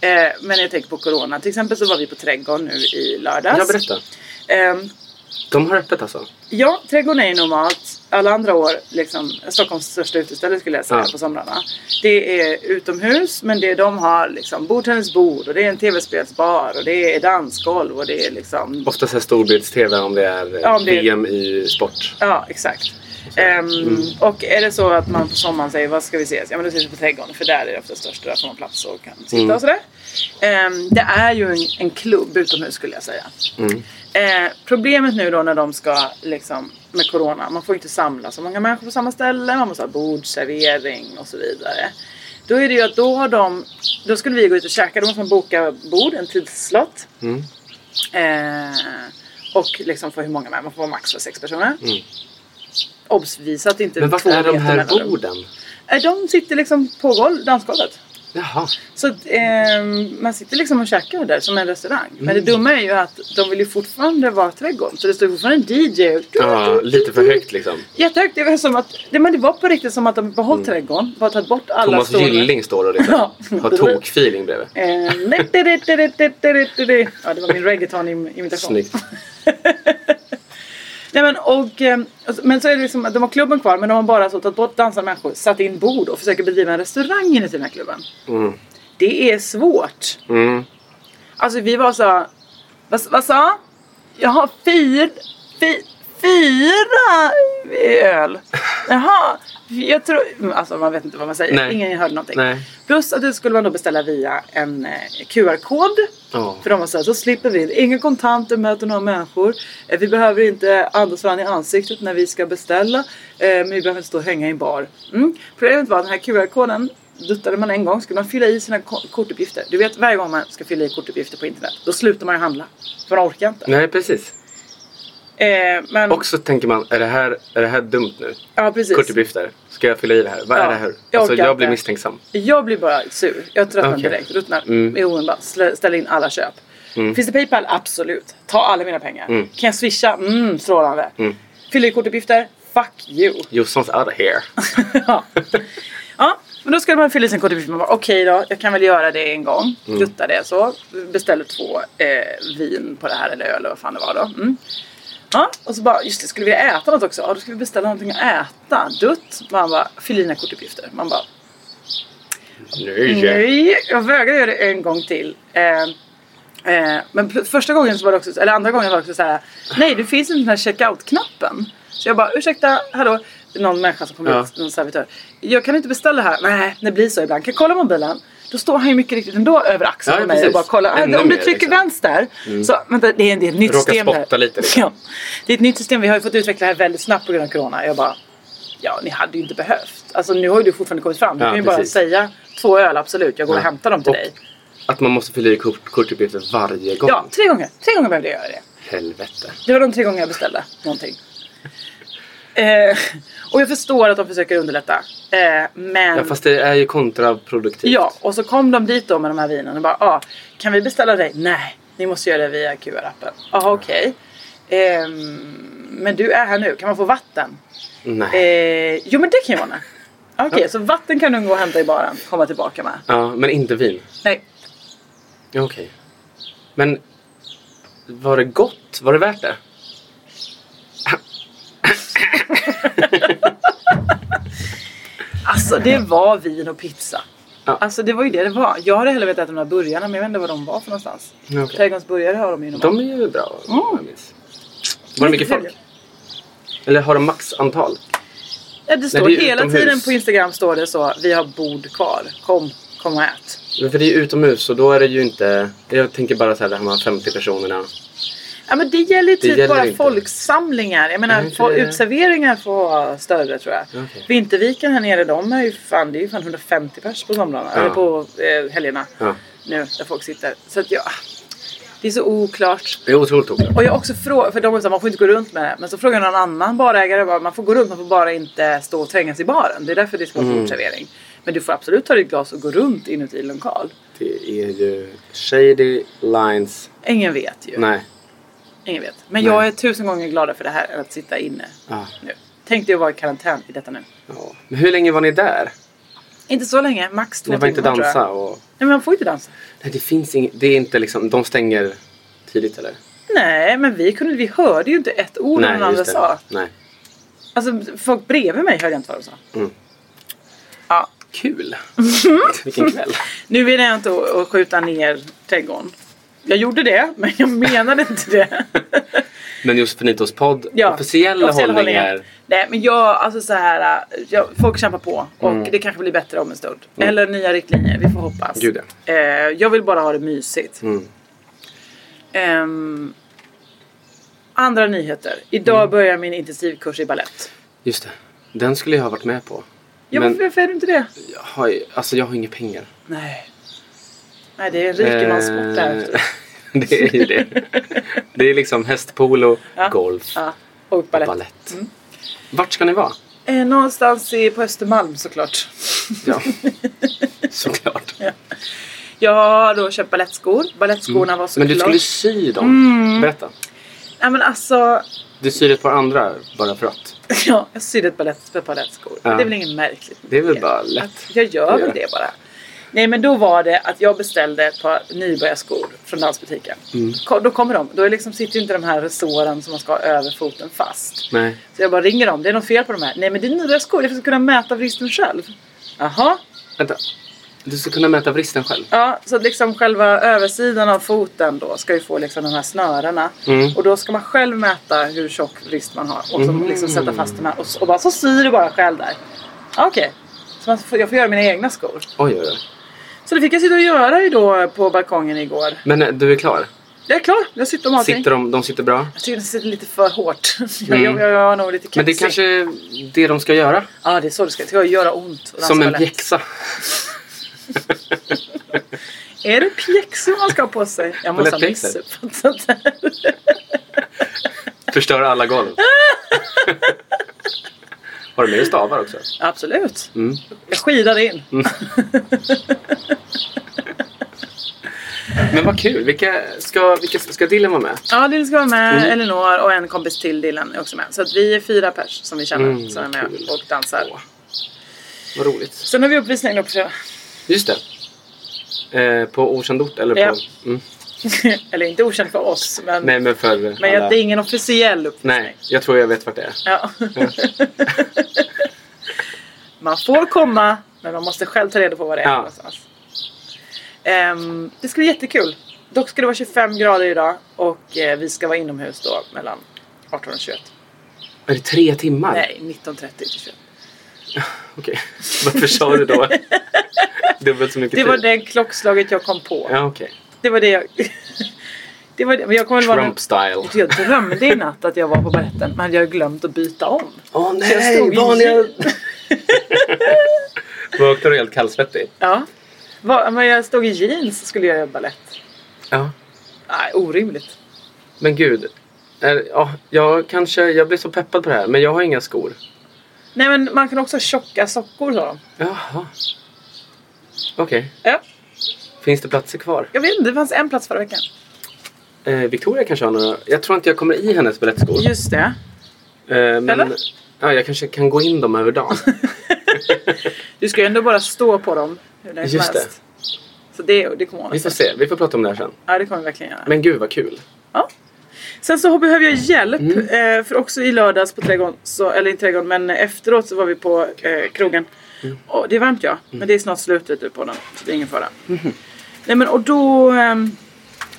[SPEAKER 3] Eh, men jag tänker på Corona. Till exempel så var vi på Trädgården nu i lördags.
[SPEAKER 4] Ja, berätta.
[SPEAKER 3] Ehm,
[SPEAKER 4] De har öppet alltså?
[SPEAKER 3] Ja, trädgården är ju normalt alla andra år liksom, Stockholms största uteställe skulle jag säga
[SPEAKER 4] Ja.
[SPEAKER 3] på somrarna. Det är utomhus men det de har liksom bordtennisbord och det är en tv-spelsbar och det är dansgolv och det är liksom
[SPEAKER 4] Ofta så här storbilds-tv om det är eh,
[SPEAKER 3] Ja, om det är-
[SPEAKER 4] VM i sport.
[SPEAKER 3] Ja, exakt. Ehm,
[SPEAKER 4] Mm.
[SPEAKER 3] Och är det så att man på sommaren säger vad ska vi ses? Ja men då ses vi på trädgården för där är det ofta störst och där får man plats och kan sitta
[SPEAKER 4] Mm.
[SPEAKER 3] och sådär. Ehm, det är ju en, en klubb utomhus skulle jag säga.
[SPEAKER 4] Mm.
[SPEAKER 3] Eh, problemet nu då när de ska liksom med corona, man får ju inte samla så många människor på samma ställe, man måste ha bordservering och så vidare. Då är det ju att då har de, då skulle vi gå ut och käka, då måste man boka bord, en tidslott.
[SPEAKER 4] Mm.
[SPEAKER 3] Eh, och liksom för hur många man är, man får vara max för sex personer.
[SPEAKER 4] Mm.
[SPEAKER 3] Obsvisa att det inte
[SPEAKER 4] Men varför
[SPEAKER 3] två
[SPEAKER 4] är de
[SPEAKER 3] meter
[SPEAKER 4] här
[SPEAKER 3] mellan dem.
[SPEAKER 4] borden?
[SPEAKER 3] Eh, De sitter liksom på golv, dansgolvet.
[SPEAKER 4] Jaha.
[SPEAKER 3] Så att, ehm, man sitter liksom och käkar där som en restaurang. Men
[SPEAKER 4] Mm.
[SPEAKER 3] det dumma är ju att de vill ju fortfarande vara trädgården. Så det står ju fortfarande en DJ. och-
[SPEAKER 4] Ja, lite för högt liksom.
[SPEAKER 3] Jättehögt. Det var, som att, det, men det var på riktigt som att de behållit trädgården. Bara tagit bort alla
[SPEAKER 4] Thomas
[SPEAKER 3] stolar.
[SPEAKER 4] Gylling står och liksom
[SPEAKER 3] Ja.
[SPEAKER 4] har tokfeeling bredvid.
[SPEAKER 3] Eh, nej, det, det, det, det, det, det, det, det. Ja, det var min reggaeton-imitation.
[SPEAKER 4] Snyggt.
[SPEAKER 3] Nej, men, och, eh, alltså, men så är det liksom, att de har klubben kvar men de har bara så tagit bort dansande människor, satt in bord och försöker bedriva en restaurang inuti den här klubben.
[SPEAKER 4] Mm.
[SPEAKER 3] Det är svårt.
[SPEAKER 4] Mm.
[SPEAKER 3] Alltså vi var så här, vad, vad sa? Jag har fyr, fy, fyra öl. Jaha. Jag tror, alltså man vet inte vad man säger.
[SPEAKER 4] Nej.
[SPEAKER 3] Ingen hörde någonting.
[SPEAKER 4] Nej.
[SPEAKER 3] Plus att det skulle man då beställa via en eh, QR-kod.
[SPEAKER 4] Ja.
[SPEAKER 3] För de var såhär, så slipper vi. Inga kontanter, möter några människor. Eh, Vi behöver inte andas varandra i ansiktet när vi ska beställa. Eh, Men vi behöver inte stå och hänga i en bar. Mm. Problemet var att den här QR-koden duttade man en gång skulle man fylla i sina ko- kortuppgifter. Du vet varje gång man ska fylla i kortuppgifter på internet då slutar man ju handla. För man orkar inte.
[SPEAKER 4] Nej, precis.
[SPEAKER 3] Eh, men,
[SPEAKER 4] Och så tänker man, är det här, är det här dumt nu?
[SPEAKER 3] ja, precis.
[SPEAKER 4] Kortuppgifter. Ska jag fylla i det här? Vad
[SPEAKER 3] Ja,
[SPEAKER 4] är det här?
[SPEAKER 3] jag
[SPEAKER 4] Alltså,
[SPEAKER 3] orkar
[SPEAKER 4] jag blir
[SPEAKER 3] inte.
[SPEAKER 4] misstänksam.
[SPEAKER 3] Jag blir bara sur. Jag tröttnar
[SPEAKER 4] Okej.
[SPEAKER 3] direkt. Ruttnar.
[SPEAKER 4] Mm.
[SPEAKER 3] i oron bara. Slä- Ställer in alla köp. Finns det Paypal? Absolut. Ta alla mina pengar.
[SPEAKER 4] Mm.
[SPEAKER 3] Kan jag swisha? Mm, strålande.
[SPEAKER 4] Mm.
[SPEAKER 3] Fyller i kortuppgifter? Fuck you.
[SPEAKER 4] Jossans out here.
[SPEAKER 3] ja. ja, men då skulle man fylla i sin kortuppgift. Man bara okej då, jag kan väl göra det en gång. Dutta det så. Beställde två eh, vin på det här eller öl eller vad fan det var då. Mm. Ja, och så bara just det, skulle vi äta något också? Ja, då ska vi beställa någonting att äta. Dutt. Man bara fyll i dina kortuppgifter. Man bara
[SPEAKER 4] Nej.
[SPEAKER 3] Nej, jag vägrade göra det en gång till. Eh, eh, men pl- första gången så var det också, eller andra gången var det också så här. Nej, det finns inte den här checkout-knappen. Så jag bara, ursäkta, hallå. Någon människa som kommer
[SPEAKER 4] Ja.
[SPEAKER 3] ut, någon servitör. Jag kan inte beställa här. Nej, det blir så ibland. Kan jag kolla mobilen? Då står han ju mycket riktigt ändå över axeln
[SPEAKER 4] Ja,
[SPEAKER 3] på mig och
[SPEAKER 4] precis.
[SPEAKER 3] bara kollar. Ah,
[SPEAKER 4] Ännu
[SPEAKER 3] om du
[SPEAKER 4] mer,
[SPEAKER 3] trycker
[SPEAKER 4] liksom.
[SPEAKER 3] vänster. Så, vänta, det är, det är ett nytt
[SPEAKER 4] Råkar
[SPEAKER 3] system.
[SPEAKER 4] spotta lite, liksom.
[SPEAKER 3] Ja, det är ett nytt system. Vi har ju fått utveckla det här väldigt snabbt på grund av corona. Jag bara, ja, ni hade ju inte behövt. Alltså nu har ju du fortfarande kommit fram. Du
[SPEAKER 4] Ja,
[SPEAKER 3] kan ju bara
[SPEAKER 4] precis.
[SPEAKER 3] säga två öl, absolut. Jag går och
[SPEAKER 4] Ja.
[SPEAKER 3] hämtar dem till
[SPEAKER 4] Och
[SPEAKER 3] dig.
[SPEAKER 4] Att man måste fylla i kort, kortuppgifter varje gång.
[SPEAKER 3] Ja, tre gånger. Tre gånger behövde jag göra det.
[SPEAKER 4] Helvete.
[SPEAKER 3] Det var de tre gånger jag beställde någonting. Eh, och jag förstår att de försöker underlätta. Eh, men...
[SPEAKER 4] Ja, fast det är ju kontraproduktivt.
[SPEAKER 3] Ja, och så kom de dit då med de här vinen och bara ah, kan vi beställa dig? Nej, ni måste göra det via QR-appen. Jaha, okej. Ehm, men du är här nu, kan man få vatten?
[SPEAKER 4] Nej.
[SPEAKER 3] Eh, jo, men det kan jag ordna. Okej, så vatten kan du gå och hämta i baren, komma tillbaka med.
[SPEAKER 4] Ja, men inte vin.
[SPEAKER 3] Nej,
[SPEAKER 4] Ja, okej. Men var det gott? Var det värt det?
[SPEAKER 3] alltså det var vin och pizza.
[SPEAKER 4] Ja.
[SPEAKER 3] Alltså det var ju det det var. Jag hade hellre velat äta de där burgarna men jag vet inte var de var för någonstans.
[SPEAKER 4] Ja, okej.
[SPEAKER 3] Trädgårdsburgare har de ju normalt.
[SPEAKER 4] De är ju bra. om
[SPEAKER 3] Mm.
[SPEAKER 4] jag minns. Var det mycket folk?
[SPEAKER 3] trevliga.
[SPEAKER 4] Eller har de maxantal?
[SPEAKER 3] Ja, det står
[SPEAKER 4] det är ju
[SPEAKER 3] hela
[SPEAKER 4] utomhus.
[SPEAKER 3] tiden på Instagram står det så. Vi har bord kvar. Kom, kom och ät.
[SPEAKER 4] Men för det är ju utomhus och då är det ju inte... Jag tänker bara så här, de här 50 personerna.
[SPEAKER 3] Ja, men det gäller ju typ
[SPEAKER 4] gäller
[SPEAKER 3] bara
[SPEAKER 4] inte.
[SPEAKER 3] folksamlingar. Jag menar,
[SPEAKER 4] Nej, inte
[SPEAKER 3] fol-
[SPEAKER 4] det.
[SPEAKER 3] utserveringar får vara större tror jag.
[SPEAKER 4] Okej.
[SPEAKER 3] Vinterviken här nere, de är ju fan, det är ju fan 150 pers på somrarna.
[SPEAKER 4] Ja.
[SPEAKER 3] Eller på eh, helgerna.
[SPEAKER 4] Ja.
[SPEAKER 3] Nu, där folk sitter. Så att ja, det är så oklart.
[SPEAKER 4] Det är otroligt oklart.
[SPEAKER 3] Och jag har också frågat, för de var så här, man får inte gå runt med det. Men så frågade någon annan barägare, bara, man får gå runt, man får bara inte stå och trängas i baren. Det är därför det ska
[SPEAKER 4] Mm.
[SPEAKER 3] vara bordservering. Men du får absolut ta ditt glas och gå runt inuti en lokal.
[SPEAKER 4] Det är ju shady lines.
[SPEAKER 3] Ingen vet ju.
[SPEAKER 4] Nej.
[SPEAKER 3] Ingen vet. Men
[SPEAKER 4] Nej.
[SPEAKER 3] jag är tusen gånger gladare för det här än att sitta inne
[SPEAKER 4] Ja.
[SPEAKER 3] nu. Tänk dig att vara i karantän i detta nu.
[SPEAKER 4] Ja. Men hur länge var ni där?
[SPEAKER 3] Inte så länge, max två
[SPEAKER 4] Ni var inte
[SPEAKER 3] timmar, tror jag.
[SPEAKER 4] dansa och...
[SPEAKER 3] Nej men man får inte dansa.
[SPEAKER 4] Nej, det finns inget... Det är inte liksom... De stänger tidigt eller?
[SPEAKER 3] Nej men vi, kunde, vi hörde ju inte ett ord
[SPEAKER 4] Nej,
[SPEAKER 3] vad den andra
[SPEAKER 4] just det.
[SPEAKER 3] sa.
[SPEAKER 4] Nej.
[SPEAKER 3] Alltså folk bredvid mig hörde jag inte vad de sa.
[SPEAKER 4] Mm.
[SPEAKER 3] Ja,
[SPEAKER 4] Kul! Vilken kväll.
[SPEAKER 3] nu vill jag inte att att skjuta ner trädgården. Jag gjorde det men jag menade inte det.
[SPEAKER 4] Men Josefinitos podd,
[SPEAKER 3] Ja,
[SPEAKER 4] officiella,
[SPEAKER 3] officiella
[SPEAKER 4] hållningar.
[SPEAKER 3] hållningar. Nej men jag, alltså så här, äh, jag, folk kämpar på och
[SPEAKER 4] Mm.
[SPEAKER 3] det kanske blir bättre om en stund.
[SPEAKER 4] Mm.
[SPEAKER 3] Eller nya riktlinjer, vi får hoppas.
[SPEAKER 4] Gud ja.
[SPEAKER 3] Eh, jag vill bara ha det mysigt.
[SPEAKER 4] Mm.
[SPEAKER 3] Ehm, andra nyheter. Idag
[SPEAKER 4] Mm.
[SPEAKER 3] börjar min intensivkurs i ballett.
[SPEAKER 4] Just det. Den skulle jag ha varit med på.
[SPEAKER 3] Ja,
[SPEAKER 4] Men
[SPEAKER 3] varför, varför är du inte det?
[SPEAKER 4] jag har, ju- alltså jag har inga pengar.
[SPEAKER 3] Nej. Nej det är en rikemansport där. efter.
[SPEAKER 4] Eh, det är ju det. Det är liksom hästpolo,
[SPEAKER 3] Ja. Mm.
[SPEAKER 4] golf
[SPEAKER 3] Ja. Och
[SPEAKER 4] och
[SPEAKER 3] ballett.
[SPEAKER 4] balett. Vart ska ni vara?
[SPEAKER 3] Eh, någonstans i, på Östermalm såklart.
[SPEAKER 4] Ja, såklart.
[SPEAKER 3] Jag har då köpt ballettskor. Ballettskorna var
[SPEAKER 4] Mm. Men
[SPEAKER 3] såklart...
[SPEAKER 4] du skulle sy dem.
[SPEAKER 3] Mm.
[SPEAKER 4] Berätta.
[SPEAKER 3] Nej men alltså,
[SPEAKER 4] Du syr ett par andra bara för att.
[SPEAKER 3] Ja, jag sydde ett ballett, ett par balettskor.
[SPEAKER 4] Ja.
[SPEAKER 3] Det är väl inget märkligt.
[SPEAKER 4] Det är väl bara lätt.
[SPEAKER 3] Att jag gör väl
[SPEAKER 4] göra.
[SPEAKER 3] det bara. Nej men då var det att jag beställde ett par nybörjarskor från dansbutiken.
[SPEAKER 4] Mm.
[SPEAKER 3] Ko- Då kommer de. Då är liksom, sitter ju inte de här resåren som man ska ha över foten fast.
[SPEAKER 4] Nej.
[SPEAKER 3] Så jag bara ringer dem. Det är något fel på de här. Nej men det är nya skor. Jag ska kunna mäta vristen själv. Jaha.
[SPEAKER 4] Vänta. Du ska kunna mäta vristen själv.
[SPEAKER 3] Ja, så att liksom själva översidan av foten då ska ju få liksom de här snörena.
[SPEAKER 4] Mm.
[SPEAKER 3] Och då ska man själv mäta hur tjock vrist man har och så
[SPEAKER 4] Mm.
[SPEAKER 3] liksom sätta fast den här och, s- och bara så syr du bara själv där. Ja, Okej, så man får, jag får göra mina egna skor.
[SPEAKER 4] Oj, oj, oj.
[SPEAKER 3] Så det fick jag sitta och göra ju då på balkongen igår.
[SPEAKER 4] Men eh, du är klar?
[SPEAKER 3] Jag är klar, jag sitter och matar.
[SPEAKER 4] Sitter de, de sitter bra?
[SPEAKER 3] Jag tycker det sitter lite för hårt. Jag,
[SPEAKER 4] Mm.
[SPEAKER 3] jag, jag har nog lite kaxig.
[SPEAKER 4] Men det är kanske är det de ska göra?
[SPEAKER 3] Ja, det är så det ska. Det ska göra ont. och
[SPEAKER 4] Som
[SPEAKER 3] dansa
[SPEAKER 4] en
[SPEAKER 3] balett.
[SPEAKER 4] pjäxa.
[SPEAKER 3] Är det pjäxor man ska ha på sig? Jag måste ha
[SPEAKER 4] Balettpjäxor.
[SPEAKER 3] missuppfattat det här.
[SPEAKER 4] Förstör alla golv. Har du med dig stavar också?
[SPEAKER 3] Absolut.
[SPEAKER 4] Mm.
[SPEAKER 3] Jag skidar in.
[SPEAKER 4] Men vad kul. Vilka ska, vilka ska Dylan vara med?
[SPEAKER 3] Ja, Dylan ska vara med.
[SPEAKER 4] Mm.
[SPEAKER 3] Elinor och en kompis till Dylan är också med. Så att vi är fyra pers som vi känner
[SPEAKER 4] Mm,
[SPEAKER 3] som är med
[SPEAKER 4] kul.
[SPEAKER 3] och dansar.
[SPEAKER 4] Vad roligt.
[SPEAKER 3] Sen har vi uppvisning då på fredag.
[SPEAKER 4] Just det. Eh, på okänd ort eller på...
[SPEAKER 3] Ja.
[SPEAKER 4] Mm.
[SPEAKER 3] Eller inte okänd för oss, men,
[SPEAKER 4] Nej men för alla...
[SPEAKER 3] men jag, det är ingen officiell uppvisning.
[SPEAKER 4] Nej, jag tror jag vet vart det är.
[SPEAKER 3] Ja. man får komma, men man måste själv ta reda på vad det är
[SPEAKER 4] Ja.
[SPEAKER 3] någonstans. Ehm, det ska bli jättekul. Dock ska det vara 25 grader idag och eh, vi ska vara inomhus då mellan 18 och 21.
[SPEAKER 4] Är det tre timmar?
[SPEAKER 3] Nej, 19.30 till 21.
[SPEAKER 4] Okej. Varför sa du då dubbelt så mycket
[SPEAKER 3] Det var
[SPEAKER 4] tid?
[SPEAKER 3] det klockslaget jag kom på.
[SPEAKER 4] Ja, okej.
[SPEAKER 3] Det var det jag... det var det. Men jag kommer väl vara...
[SPEAKER 4] Trump style.
[SPEAKER 3] Jag drömde i natt att jag var på baletten men jag har glömt att byta om.
[SPEAKER 4] Åh
[SPEAKER 3] Så jag stod i jeans.
[SPEAKER 4] Vaknade du helt kallsvettig?
[SPEAKER 3] Ja. Va- Men jag stod i jeans skulle jag göra balett.
[SPEAKER 4] Ja.
[SPEAKER 3] Nej, orimligt.
[SPEAKER 4] Men gud. Är, ja, jag kanske... Jag blir så peppad på det här men jag har inga skor.
[SPEAKER 3] Nej men man kan också ha tjocka sockor sa de.
[SPEAKER 4] Jaha. Okej.
[SPEAKER 3] Ja,
[SPEAKER 4] Finns det platser kvar?
[SPEAKER 3] jag vet inte, det fanns en plats förra veckan.
[SPEAKER 4] Eh, Victoria kanske har några... Jag tror inte jag kommer i hennes balettskor.
[SPEAKER 3] Just det.
[SPEAKER 4] Eh, men,
[SPEAKER 3] Eller?
[SPEAKER 4] Ja, jag kanske kan gå in dem över dagen.
[SPEAKER 3] Du ska ju ändå bara stå på dem hur länge
[SPEAKER 4] Just
[SPEAKER 3] som helst. Så det, det kommer ordna
[SPEAKER 4] Vi får
[SPEAKER 3] sig.
[SPEAKER 4] se. Vi får prata om det här sen.
[SPEAKER 3] Ja, det kommer vi verkligen göra.
[SPEAKER 4] Men gud vad kul.
[SPEAKER 3] Sen så behöver jag hjälp.
[SPEAKER 4] Mm.
[SPEAKER 3] Eh, för också i lördags på trädgården, så, eller inte trädgården men efteråt så var vi på eh, krogen.
[SPEAKER 4] Mm.
[SPEAKER 3] Och det är varmt ja, men det är snart slutet ur podden. Så det är ingen fara.
[SPEAKER 4] Mhm.
[SPEAKER 3] Nej men och då ehm,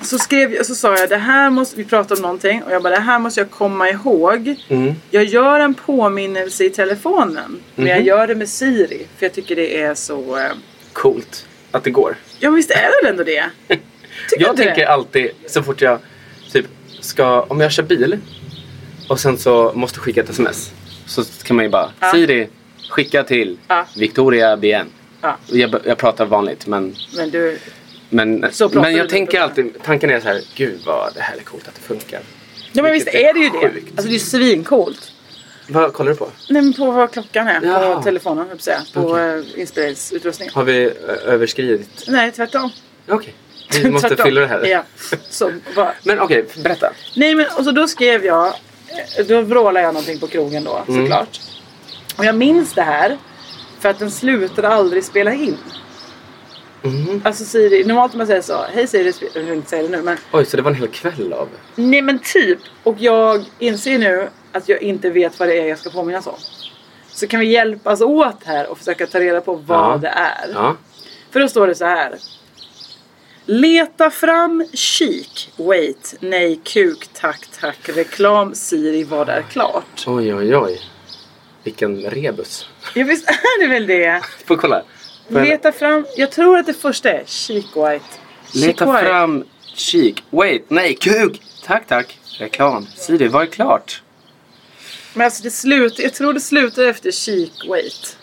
[SPEAKER 3] så skrev jag, så sa jag det här måste, vi prata om någonting och jag bara det här måste jag komma ihåg.
[SPEAKER 4] Mm.
[SPEAKER 3] Jag gör en påminnelse i telefonen. Men jag
[SPEAKER 4] Mhm.
[SPEAKER 3] gör det med Siri för jag tycker det är så, eh,
[SPEAKER 4] Coolt att det går.
[SPEAKER 3] ja men visst är det väl ändå det? Tycker
[SPEAKER 4] jag
[SPEAKER 3] inte
[SPEAKER 4] tänker
[SPEAKER 3] det?
[SPEAKER 4] alltid så fort jag typ ska, om jag kör bil och sen så måste skicka ett sms. Så kan man ju bara,
[SPEAKER 3] Ja.
[SPEAKER 4] Siri, skicka till
[SPEAKER 3] Ja.
[SPEAKER 4] Victoria BN.
[SPEAKER 3] Ja.
[SPEAKER 4] Jag, jag pratar vanligt men,
[SPEAKER 3] Men du,
[SPEAKER 4] men,
[SPEAKER 3] Så pratar
[SPEAKER 4] men
[SPEAKER 3] du
[SPEAKER 4] jag
[SPEAKER 3] med
[SPEAKER 4] tänker
[SPEAKER 3] personen.
[SPEAKER 4] alltid, tanken är så här, gud vad det här är coolt att det funkar.
[SPEAKER 3] ja men visst
[SPEAKER 4] Vilket
[SPEAKER 3] är det ju det.
[SPEAKER 4] sjukt.
[SPEAKER 3] Alltså det är ju svincoolt.
[SPEAKER 4] Vad kollar du på?
[SPEAKER 3] Nej men på vad klockan är
[SPEAKER 4] Ja.
[SPEAKER 3] på telefonen höll jag på att säga. På
[SPEAKER 4] Okej.
[SPEAKER 3] okay. inspelinsutrustningen.
[SPEAKER 4] Har vi ö- överskridit?
[SPEAKER 3] Nej tvärtom.
[SPEAKER 4] Okej, vi måste
[SPEAKER 3] Tvärtom.
[SPEAKER 4] fylla det här.
[SPEAKER 3] Ja. Så, bara.
[SPEAKER 4] Men okej, berätta.
[SPEAKER 3] Nej men och så då skrev jag. eh, Då vrålade jag någonting på krogen då
[SPEAKER 4] Mm.
[SPEAKER 3] såklart. Och jag minns det här. För att den slutade aldrig spela in.
[SPEAKER 4] Mhm.
[SPEAKER 3] Alltså Siri, normalt om man säger så. Hej Siri, spe- jag vill inte säga det nu men.
[SPEAKER 4] Oj, så det var en hel kväll av...
[SPEAKER 3] Nej men typ. Och jag inser nu att jag inte vet vad det är jag ska påminnas om. Så kan vi hjälpas åt här och försöka ta reda på vad
[SPEAKER 4] Ja.
[SPEAKER 3] det är.
[SPEAKER 4] Ja.
[SPEAKER 3] För då står det så här. Leta fram, kik, wait, nej, kuk, tack, tack, reklam, Siri, vad är klart?
[SPEAKER 4] Oj, oj, oj. Vilken rebus.
[SPEAKER 3] Ja, visst är det väl det?
[SPEAKER 4] Får jag kolla? Får jag-
[SPEAKER 3] Leta fram, jag tror att det första är kik, white.
[SPEAKER 4] Leta fram kik. Wait, nej, kuk! Tack, tack. Reklam. Siri, var är klart?
[SPEAKER 3] Men alltså det slutar, jag tror det slutar efter kik, wait.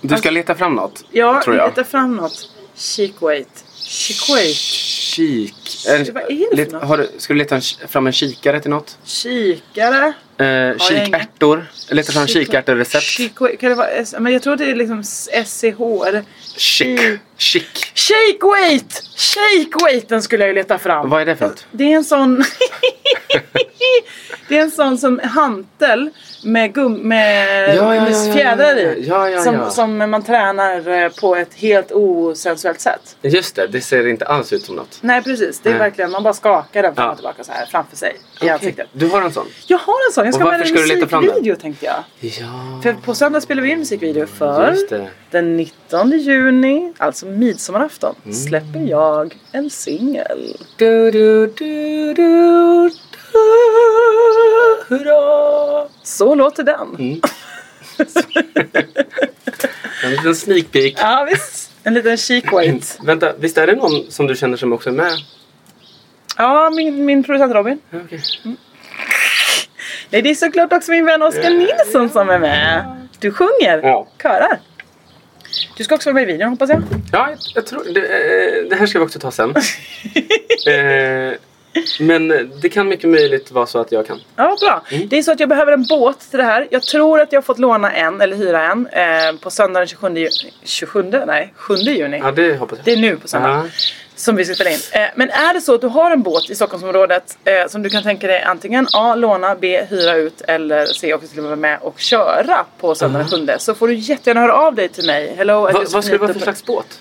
[SPEAKER 4] Du ska leta fram något,
[SPEAKER 3] Ja,
[SPEAKER 4] tror jag.
[SPEAKER 3] leta fram något. Kik, wait. Kik, wait.
[SPEAKER 4] Kik. En,
[SPEAKER 3] Vad är det för
[SPEAKER 4] leta-
[SPEAKER 3] något?
[SPEAKER 4] har du, ska du leta en, fram en kikare till något?
[SPEAKER 3] Kikare.
[SPEAKER 4] Eh,
[SPEAKER 3] jag
[SPEAKER 4] kikärtor. Leta fram
[SPEAKER 3] Kik-
[SPEAKER 4] kikärtorecept.
[SPEAKER 3] Kik, wait. Kan det vara, S- men jag tror det är liksom s- SCH eller...
[SPEAKER 4] Chic. Chic.
[SPEAKER 3] Shake weight! Shake weighten skulle jag ju leta fram.
[SPEAKER 4] Vad är det för något?
[SPEAKER 3] Det är en sån... det är en sån som hantel med, gum, med,
[SPEAKER 4] Ja, ja, ja, ja,
[SPEAKER 3] med fjädrar
[SPEAKER 4] ja, ja.
[SPEAKER 3] i.
[SPEAKER 4] Ja, ja,
[SPEAKER 3] som,
[SPEAKER 4] ja.
[SPEAKER 3] som man tränar eh, på ett helt osensuellt sätt.
[SPEAKER 4] Just det, det ser inte alls ut som något.
[SPEAKER 3] Nej precis, det är
[SPEAKER 4] Nej.
[SPEAKER 3] verkligen man bara skakar den fram
[SPEAKER 4] Ja.
[SPEAKER 3] och tillbaka så här framför sig i ansiktet.
[SPEAKER 4] Du har en sån?
[SPEAKER 3] Jag har en sån, jag ska
[SPEAKER 4] Och
[SPEAKER 3] med
[SPEAKER 4] varför
[SPEAKER 3] en
[SPEAKER 4] ska du leta fram den?
[SPEAKER 3] musikvideo tänkte jag.
[SPEAKER 4] Ja,
[SPEAKER 3] För på söndag spelar vi in musikvideo för
[SPEAKER 4] just det.
[SPEAKER 3] den 19 juni, alltså midsommarafton,
[SPEAKER 4] Mm.
[SPEAKER 3] släpper jag en singel.
[SPEAKER 4] Du, du, du, du, du, hurra! Mm.
[SPEAKER 3] Så låter den.
[SPEAKER 4] En liten sneak peek.
[SPEAKER 3] Ja visst, en liten chic wait.
[SPEAKER 4] Vänta, visst är det någon som du känner som också är med?
[SPEAKER 3] Ja, min, min producent Robin.
[SPEAKER 4] Ja, okej.
[SPEAKER 3] Nej, det är såklart också min vän Oskar Nilsson som är med. Du sjunger,
[SPEAKER 4] Ja.
[SPEAKER 3] körar. Du ska också vara med i videon hoppas jag.
[SPEAKER 4] Ja, jag, jag tror det, eh, det här ska vi också ta sen. eh, men det kan mycket möjligt vara så att jag kan.
[SPEAKER 3] Ja, bra.
[SPEAKER 4] Mm.
[SPEAKER 3] Det är så att jag behöver en båt till det här. Jag tror att jag har fått låna en, eller hyra en, eh, på söndagen den 27, ju- 27 nej, 7 juni.
[SPEAKER 4] Ja, det hoppas jag.
[SPEAKER 3] Det är nu på söndag.
[SPEAKER 4] Ja.
[SPEAKER 3] som vi ska spela in. Eh, Men är det så att du har en båt i Stockholmsområdet eh, som du kan tänka dig antingen A. Låna, B. Hyra ut eller C. Också till och med vara med och köra på söndag den 7 så får du jättegärna höra av dig till mig. Hello, at
[SPEAKER 4] Mm. Va, vad
[SPEAKER 3] Josefin
[SPEAKER 4] ska det vara för
[SPEAKER 3] Lito-
[SPEAKER 4] slags båt?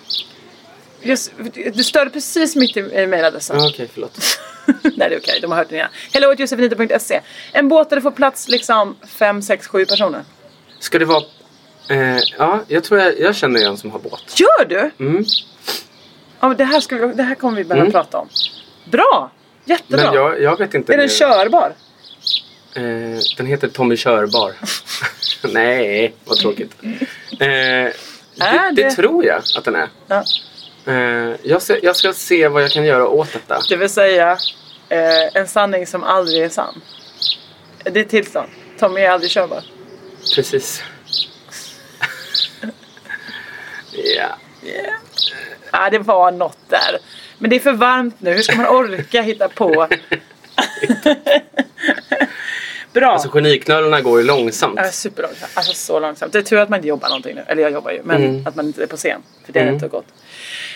[SPEAKER 3] Just, du störde precis mitt i i mejladressen.
[SPEAKER 4] Ja, Okej, förlåt.
[SPEAKER 3] Nej det är okej, de har hört den igen. Hello at josefinito.se En båt där det får plats liksom 5, 6, 7 personer.
[SPEAKER 4] Ska det vara... Eh, ja, jag tror jag, jag känner en som har båt.
[SPEAKER 3] Gör du?
[SPEAKER 4] Mm.
[SPEAKER 3] Ja, men det, här ska vi, det här kommer vi behöva prata om. Bra! Jättebra!
[SPEAKER 4] Men jag, jag vet inte.
[SPEAKER 3] Är den
[SPEAKER 4] nu.
[SPEAKER 3] körbar?
[SPEAKER 4] Eh, den heter Tommy Körbar. Nej, vad tråkigt. Eh, det, det
[SPEAKER 3] det-
[SPEAKER 4] tror jag att den är.
[SPEAKER 3] Ja.
[SPEAKER 4] Eh, jag, ska, jag ska se vad jag kan göra åt detta.
[SPEAKER 3] Det vill säga eh, en sanning som aldrig är sann. Det är ett tillstånd. Tommy är aldrig körbar.
[SPEAKER 4] Precis. ja.
[SPEAKER 3] ah, det var något där. Men det är för varmt nu. Hur ska man orka hitta på? Bra.
[SPEAKER 4] Alltså geniknölarna går ju långsamt.
[SPEAKER 3] Ja, superlångsamt. Alltså så långsamt. Det är tur att man inte jobbar någonting nu. Eller jag jobbar ju. Men
[SPEAKER 4] Mm.
[SPEAKER 3] att man inte är på scen. För det är rätt och gott.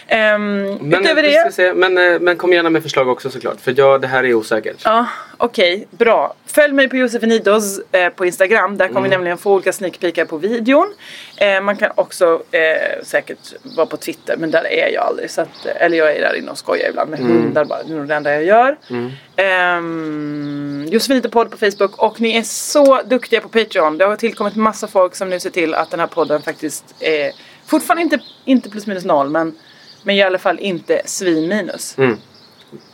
[SPEAKER 3] Ehm,
[SPEAKER 4] Men,
[SPEAKER 3] utöver
[SPEAKER 4] vi
[SPEAKER 3] det.
[SPEAKER 4] ska se. men, eh, men kom gärna med förslag också såklart. För jag, det här är osäkert.
[SPEAKER 3] Ja, okej, bra. Följ mig på Josefinidos eh, på Instagram. Där kommer vi nämligen få olika sneakpeekar på videon. Eh, man kan också eh, säkert vara på Twitter, men där är jag aldrig. Så att, eh, eller jag är där inne och skojar ibland med hundar bara. Det är nog det enda jag gör. Ehm, Josefinito podd på Facebook och ni är så duktiga på Patreon. Det har tillkommit massa folk som nu ser till att den här podden faktiskt är fortfarande inte, inte plus minus noll, men, men i alla fall inte svin minus.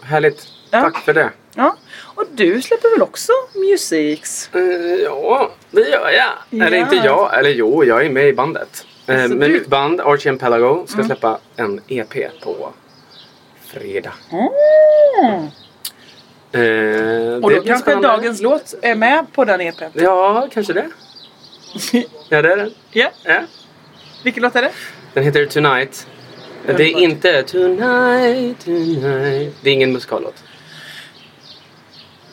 [SPEAKER 4] Härligt.
[SPEAKER 3] Ja.
[SPEAKER 4] Tack för det.
[SPEAKER 3] Ja. Och du släpper väl också musics?
[SPEAKER 4] Eh, Ja, det gör jag. Eller
[SPEAKER 3] Ja.
[SPEAKER 4] inte jag, eller jo, jag är med i bandet. Eh,
[SPEAKER 3] Alltså,
[SPEAKER 4] Men
[SPEAKER 3] du- Mm.
[SPEAKER 4] mitt band Archie Pelago ska släppa en EP på fredag. Eh,
[SPEAKER 3] Ah. Och
[SPEAKER 4] det
[SPEAKER 3] då
[SPEAKER 4] blir
[SPEAKER 3] kanske
[SPEAKER 4] spännande.
[SPEAKER 3] dagens låt är med på den E EPn.
[SPEAKER 4] Ja, kanske det. ja, det är den.
[SPEAKER 3] Ja,
[SPEAKER 4] Ja.
[SPEAKER 3] vilken låt är det?
[SPEAKER 4] Den heter Tonight. Det är
[SPEAKER 3] Underbart.
[SPEAKER 4] inte Tonight, Tonight. Det är ingen musikallåt.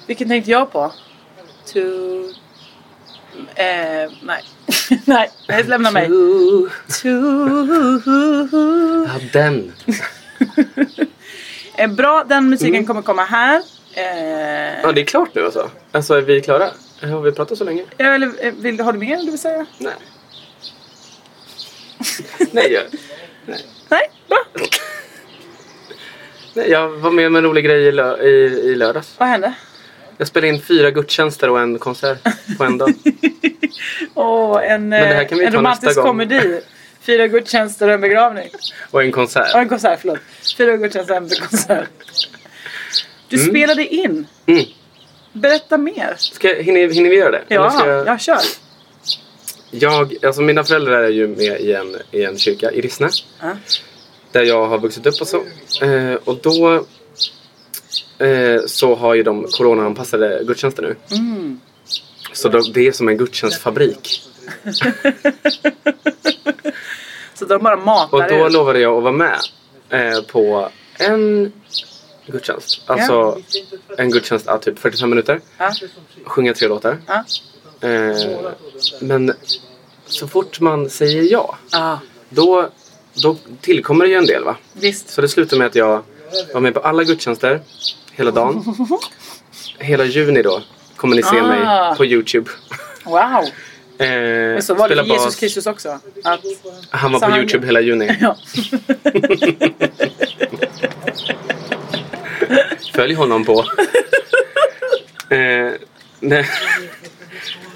[SPEAKER 3] Vilken tänkte jag på? To... Eh, nej. nej, nej, lämna mig.
[SPEAKER 4] Ooh,
[SPEAKER 3] To...
[SPEAKER 4] Ja, den.
[SPEAKER 3] Eh, bra, den musiken kommer komma här. Eh,
[SPEAKER 4] Ja, det är klart nu alltså. Alltså, är vi klara? Har vi pratat så länge?
[SPEAKER 3] eller, eh, vill, har du mer du vill säga?
[SPEAKER 4] Nej. Nej, jag,
[SPEAKER 3] Nej, bra.
[SPEAKER 4] nej, jag var med om en rolig grej i, lö, i, i lördags.
[SPEAKER 3] Vad hände?
[SPEAKER 4] Jag spelade in fyra gudstjänster och en konsert på en dag.
[SPEAKER 3] Åh, en,
[SPEAKER 4] det här
[SPEAKER 3] eh,
[SPEAKER 4] kan vi
[SPEAKER 3] en
[SPEAKER 4] ta nästa
[SPEAKER 3] romantisk
[SPEAKER 4] gång.
[SPEAKER 3] komedi. Fyra gudstjänster och en begravning.
[SPEAKER 4] Och en konsert.
[SPEAKER 3] Ja, en konsert, förlåt. Fyra gudstjänster och en konsert. Du
[SPEAKER 4] Mm.
[SPEAKER 3] spelade in.
[SPEAKER 4] Mm.
[SPEAKER 3] Berätta mer.
[SPEAKER 4] Ska, hinner, hinner vi göra det? Eller
[SPEAKER 3] Ja,
[SPEAKER 4] ska jag-
[SPEAKER 3] jag kör.
[SPEAKER 4] Jag, alltså mina föräldrar är ju med i en, i en kyrka i Rissne.
[SPEAKER 3] Ja.
[SPEAKER 4] Där jag har vuxit upp och så. Eh, och då eh, så har ju de coronaanpassade gudstjänster nu.
[SPEAKER 3] Mm.
[SPEAKER 4] Så då, det är som en gudstjänstfabrik.
[SPEAKER 3] Så de bara matar
[SPEAKER 4] Och då
[SPEAKER 3] er.
[SPEAKER 4] lovade jag att vara med eh, på en gudstjänst. Alltså en gudstjänst, ja, typ 45 minuter.
[SPEAKER 3] Ja.
[SPEAKER 4] Sjunga tre låtar.
[SPEAKER 3] Ja.
[SPEAKER 4] Eh, men så fort man säger ja.
[SPEAKER 3] Ja,
[SPEAKER 4] Då, då tillkommer det ju en del va?
[SPEAKER 3] visst.
[SPEAKER 4] Så det slutade med att jag var med på alla gudstjänster hela dagen. Hela juni då kommer ni se
[SPEAKER 3] Ah.
[SPEAKER 4] mig på Youtube.
[SPEAKER 3] Wow.
[SPEAKER 4] Eh,
[SPEAKER 3] Men så var det
[SPEAKER 4] spela
[SPEAKER 3] för Jesus
[SPEAKER 4] bas.
[SPEAKER 3] Kristus också. Att...
[SPEAKER 4] Han var
[SPEAKER 3] så
[SPEAKER 4] på Youtube hela juni.
[SPEAKER 3] Ja.
[SPEAKER 4] Följ honom på. eh, nej.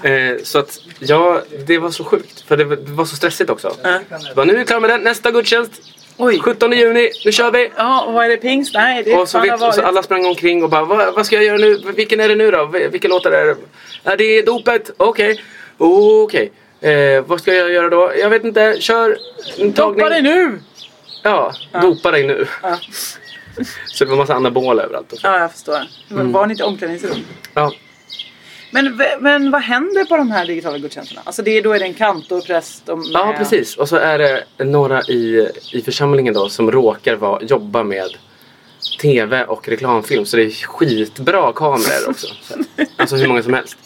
[SPEAKER 4] Eh, så att ja, det var så sjukt. För det var, det var så stressigt också.
[SPEAKER 3] Ja.
[SPEAKER 4] Jag Bara, nu är vi klara med den. Nästa gudstjänst.
[SPEAKER 3] Oj.
[SPEAKER 4] 17 juni. Nu kör vi.
[SPEAKER 3] Ja, och vad är det pingst? Nej, det är
[SPEAKER 4] Och så,
[SPEAKER 3] fan har
[SPEAKER 4] vet, och så
[SPEAKER 3] varit.
[SPEAKER 4] alla sprang omkring och bara vad, vad ska jag göra nu? Vilken är det nu då? Vi- Vilka låtar är det? Ja, det är dopet. Okej. Okej. Eh, vad ska jag göra då? Jag vet inte. Kör en tagning.
[SPEAKER 3] Doppa dig nu!
[SPEAKER 4] Ja, dopa dig nu.
[SPEAKER 3] Ja.
[SPEAKER 4] Så det var massa anabol överallt. Och så.
[SPEAKER 3] Ja, jag förstår. Men
[SPEAKER 4] Mm.
[SPEAKER 3] Var ni inte i omklädningsrum?
[SPEAKER 4] Ja.
[SPEAKER 3] Men, v- men vad händer på de här digitala gudstjänsterna? Alltså det, är- då är det en kantor, präst och...
[SPEAKER 4] ja, precis. Och så är det några i, i församlingen då som råkar vara, jobba med tv och reklamfilm. Så det är skitbra kameror också. Så här. Alltså hur många som helst.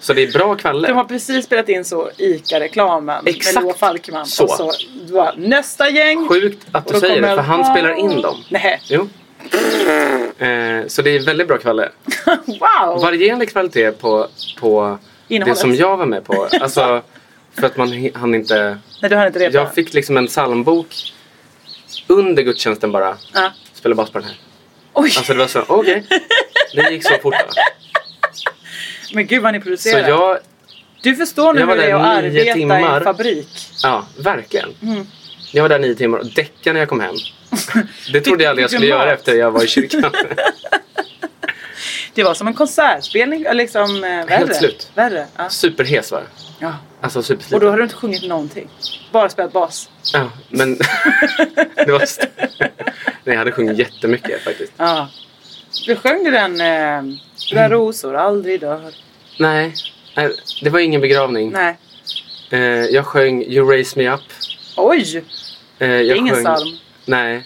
[SPEAKER 4] Så det är bra kvaller.
[SPEAKER 3] De har precis spelat in så ICA-reklamen med
[SPEAKER 4] Exakt.
[SPEAKER 3] Loa Falkman.
[SPEAKER 4] Så.
[SPEAKER 3] Och så bara, nästa gäng!
[SPEAKER 4] Sjukt att
[SPEAKER 3] Och
[SPEAKER 4] du
[SPEAKER 3] då
[SPEAKER 4] säger det,
[SPEAKER 3] kommer-
[SPEAKER 4] för han spelar in dem.
[SPEAKER 3] Nej.
[SPEAKER 4] Jo. Eh, så det är väldigt bra kväll.
[SPEAKER 3] Wow!
[SPEAKER 4] Varierande kvalitet på, på det
[SPEAKER 3] Innehållet.
[SPEAKER 4] som jag var med på. Alltså, för att man hi- hann inte...
[SPEAKER 3] Nej, du har inte repat.
[SPEAKER 4] Jag fick liksom en psalmbok under gudstjänsten bara.
[SPEAKER 3] Ja.
[SPEAKER 4] Spela bas på den här.
[SPEAKER 3] Oj,
[SPEAKER 4] Alltså det var så, okej. Det gick så fort. va?
[SPEAKER 3] men gud vad ni
[SPEAKER 4] Så
[SPEAKER 3] producerar.
[SPEAKER 4] jag,
[SPEAKER 3] du förstår nu
[SPEAKER 4] jag
[SPEAKER 3] hur
[SPEAKER 4] var
[SPEAKER 3] det
[SPEAKER 4] där
[SPEAKER 3] är
[SPEAKER 4] nio
[SPEAKER 3] att arbeta i
[SPEAKER 4] timmar.
[SPEAKER 3] en fabrik.
[SPEAKER 4] ja, verkligen.
[SPEAKER 3] Mm.
[SPEAKER 4] Jag var där nio timmar och däckade när jag kom hem. Det trodde jag aldrig jag
[SPEAKER 3] Fick du
[SPEAKER 4] skulle göra
[SPEAKER 3] mat?
[SPEAKER 4] efter jag var i kyrkan.
[SPEAKER 3] Det var som en konsertspelning, liksom eh, värre.
[SPEAKER 4] slut.
[SPEAKER 3] Värre. Ja.
[SPEAKER 4] Superhes var jag.
[SPEAKER 3] Ja.
[SPEAKER 4] Alltså
[SPEAKER 3] Och
[SPEAKER 4] supersliten.
[SPEAKER 3] då har du inte sjungit någonting. Bara spelat bas.
[SPEAKER 4] Ja, men det var... st- Nej, jag hade sjungit jättemycket faktiskt.
[SPEAKER 3] Ja. Du sjöng du den... Eh, Där
[SPEAKER 4] Mm.
[SPEAKER 3] rosor aldrig dör.
[SPEAKER 4] Nej, nej, det var ingen begravning.
[SPEAKER 3] Nej.
[SPEAKER 4] Eh, jag sjöng You Raise Me Up.
[SPEAKER 3] Oj!
[SPEAKER 4] Eh,
[SPEAKER 3] Det
[SPEAKER 4] jag
[SPEAKER 3] är ingen
[SPEAKER 4] sjöng...
[SPEAKER 3] psalm.
[SPEAKER 4] Nej.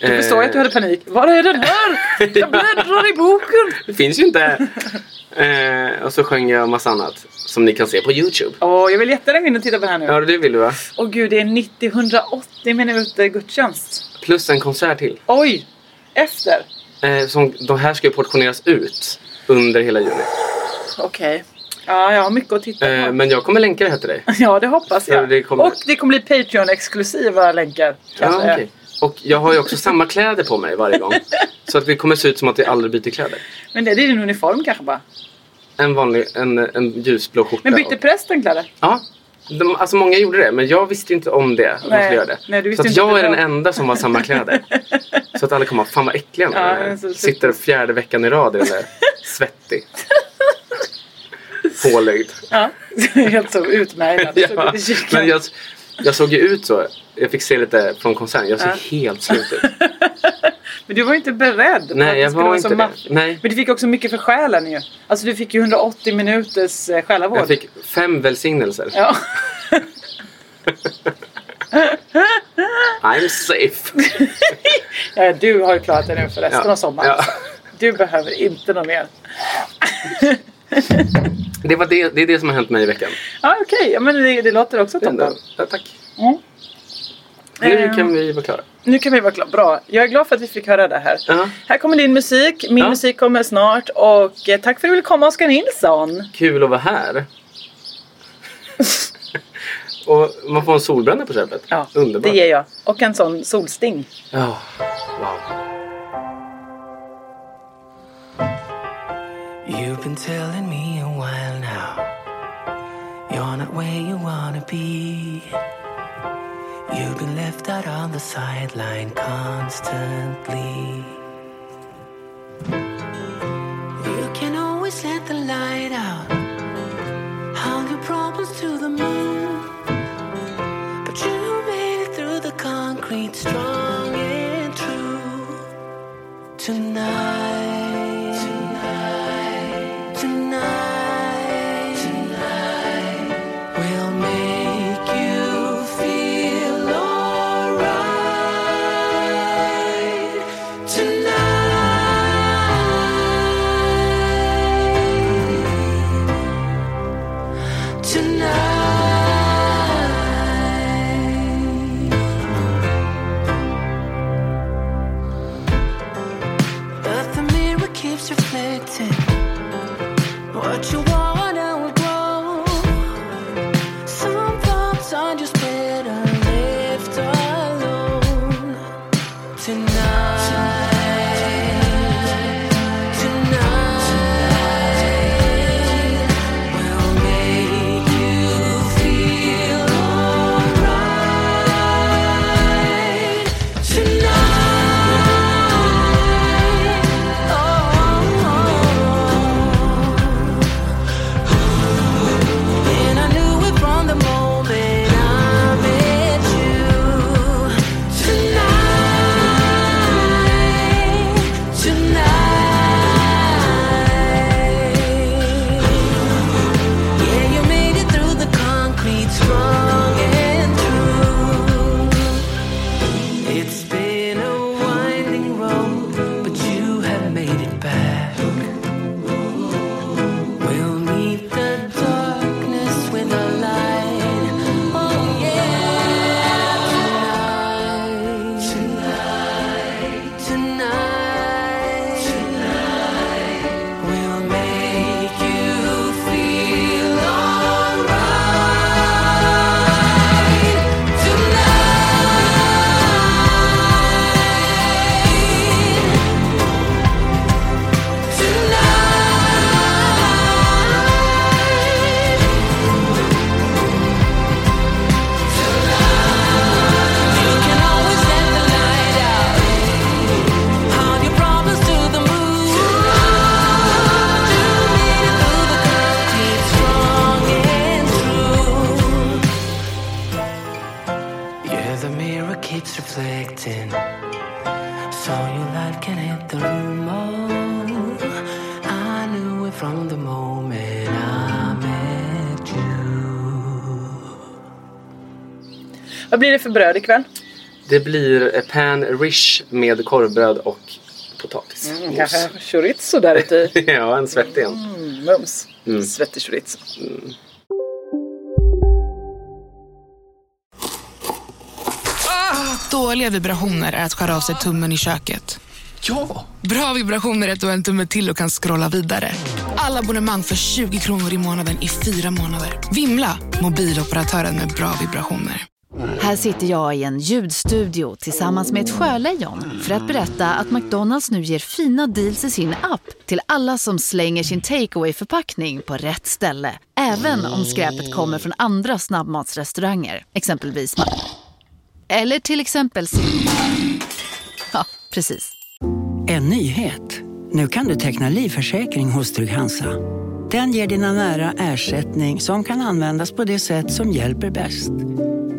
[SPEAKER 3] Du
[SPEAKER 4] Eh.
[SPEAKER 3] förstår ju att du hade panik. Var är den här? Jag bläddrar i boken!
[SPEAKER 4] Det finns ju inte. Eh, och så sjöng jag massa annat som ni kan se på Youtube.
[SPEAKER 3] Åh, jag vill jättegärna gå in och titta på det här nu. Åh
[SPEAKER 4] Ja, det vill du va?
[SPEAKER 3] gud, det är 90-180 minuter gudstjänst.
[SPEAKER 4] Plus en konsert till.
[SPEAKER 3] Oj! Efter.
[SPEAKER 4] Eh, som, de här ska ju portioneras ut under hela juni.
[SPEAKER 3] Okej. Ja, jag har mycket att titta på.
[SPEAKER 4] Eh, men jag kommer länka det här till dig.
[SPEAKER 3] Ja, det hoppas
[SPEAKER 4] Så
[SPEAKER 3] jag.
[SPEAKER 4] det kommer-
[SPEAKER 3] Och det kommer bli Patreon-exklusiva länkar. Alltså,
[SPEAKER 4] Ja,
[SPEAKER 3] eh, kanske.
[SPEAKER 4] okej. Och jag har ju också samma kläder på mig varje gång. Så att vi kommer se ut som att vi aldrig byter kläder.
[SPEAKER 3] Men det, det är din uniform kanske bara.
[SPEAKER 4] En vanlig, en, en ljusblå skjorta.
[SPEAKER 3] Men bytte
[SPEAKER 4] och,
[SPEAKER 3] prästen kläder?
[SPEAKER 4] Ja. De, alltså många gjorde det, men jag visste ju inte om det. att man
[SPEAKER 3] Nej,
[SPEAKER 4] skulle göra det.
[SPEAKER 3] nej, du visste
[SPEAKER 4] så att
[SPEAKER 3] inte
[SPEAKER 4] jag
[SPEAKER 3] att
[SPEAKER 4] är
[SPEAKER 3] det
[SPEAKER 4] den
[SPEAKER 3] var-
[SPEAKER 4] enda som har samma kläder. så att alla kommer fan vad äckliga ni
[SPEAKER 3] Ja,
[SPEAKER 4] är.
[SPEAKER 3] men så-
[SPEAKER 4] Sitter fjärde veckan i rad i den där. Svettig. Pålögd.
[SPEAKER 3] Ja. Helt så utmärglad.
[SPEAKER 4] Ja, men jag, jag såg ju ut så. Jag fick se lite från konserten. Jag såg
[SPEAKER 3] Ja.
[SPEAKER 4] helt slut ut.
[SPEAKER 3] Men du var ju inte beredd på att
[SPEAKER 4] Nej,
[SPEAKER 3] det
[SPEAKER 4] jag
[SPEAKER 3] skulle
[SPEAKER 4] var
[SPEAKER 3] vara
[SPEAKER 4] inte
[SPEAKER 3] så
[SPEAKER 4] det.
[SPEAKER 3] maffigt.
[SPEAKER 4] Nej.
[SPEAKER 3] Men du fick också mycket för själen ju. Alltså du fick ju 180 minuters eh, själavård.
[SPEAKER 4] Jag fick fem välsignelser.
[SPEAKER 3] Ja.
[SPEAKER 4] I'm safe.
[SPEAKER 3] ja, du har ju klarat dig nu för resten av sommaren.
[SPEAKER 4] Ja.
[SPEAKER 3] Du behöver inte något mer.
[SPEAKER 4] Det, var det, det är det som har hänt mig i veckan.
[SPEAKER 3] Ja, okej. Ja, men det, det låter också toppen.
[SPEAKER 4] Ja, tack.
[SPEAKER 3] Mm.
[SPEAKER 4] Nu
[SPEAKER 3] Ehm.
[SPEAKER 4] kan vi vara klara.
[SPEAKER 3] Nu kan vi vara klara. Bra. Jag är glad för att vi fick höra det här.
[SPEAKER 4] Ja.
[SPEAKER 3] Här kommer din musik. Min
[SPEAKER 4] Ja.
[SPEAKER 3] musik kommer snart. Och eh, tack för att du ville komma, Oskar Nilsson.
[SPEAKER 4] Kul att vara här. Och man får en solbränna på köpet.
[SPEAKER 3] Ja,
[SPEAKER 4] Underbart.
[SPEAKER 3] det ger jag. Och en sån solsting.
[SPEAKER 4] Ja. Wow.
[SPEAKER 9] You've been telling me a while now. You're not where you wanna be. You've been left out on the sideline constantly. You can always let the light out, hung your problems to the moon. But you made it through the concrete, strong and true. Tonight, tonight, tonight, tonight. We'll make you feel alright tonight. Tonight. But the mirror keeps reflecting what you wanna grow. Some thoughts are just better left alone tonight. Tonight will make you feel alright tonight. Oh. And I knew it from the moment I met you tonight, tonight. Yeah, you made it through the concrete, strong and true. It's been a winding road, but you have made it back. We'll meet the darkness with a light. Oh yeah, tonight, tonight, tonight, tonight. We'll make you feel alright tonight, tonight. You can always let the light out. Hold your problems to the moon. You made it through the concrete, strong and true. Yeah, the mirror keeps reflecting, so your light can hit the room. Oh, I knew it from the moment I met you.
[SPEAKER 3] Vad blir det för bröd ikväll?
[SPEAKER 4] Det blir eh, pan rish med korvbröd och potatis.
[SPEAKER 3] Mm, kanske chorizo där ute i.
[SPEAKER 4] ja, en svettig en.
[SPEAKER 3] Mm, mums.
[SPEAKER 4] Mm.
[SPEAKER 3] Svettig chorizo.
[SPEAKER 10] Dåliga vibrationer är att skära av sig tummen i köket. Ja! Bra vibrationer är att du har en tumme till och kan scrolla vidare. Alla abonnemang för 20 kronor i månaden i fyra månader. Vimla! Mobiloperatören med bra vibrationer.
[SPEAKER 11] Här sitter jag i en ljudstudio tillsammans med ett sjölejon för att berätta att McDonalds nu ger fina deals i sin app till alla som slänger sin takeaway förpackning på rätt ställe. Även om skräpet kommer från andra snabbmatsrestauranger, exempelvis Ma- Eller till exempel Sim- Ja, precis.
[SPEAKER 12] En nyhet. Nu kan du teckna livförsäkring hos Trygg-Hansa. Den ger dina nära ersättning som kan användas på det sätt som hjälper bäst.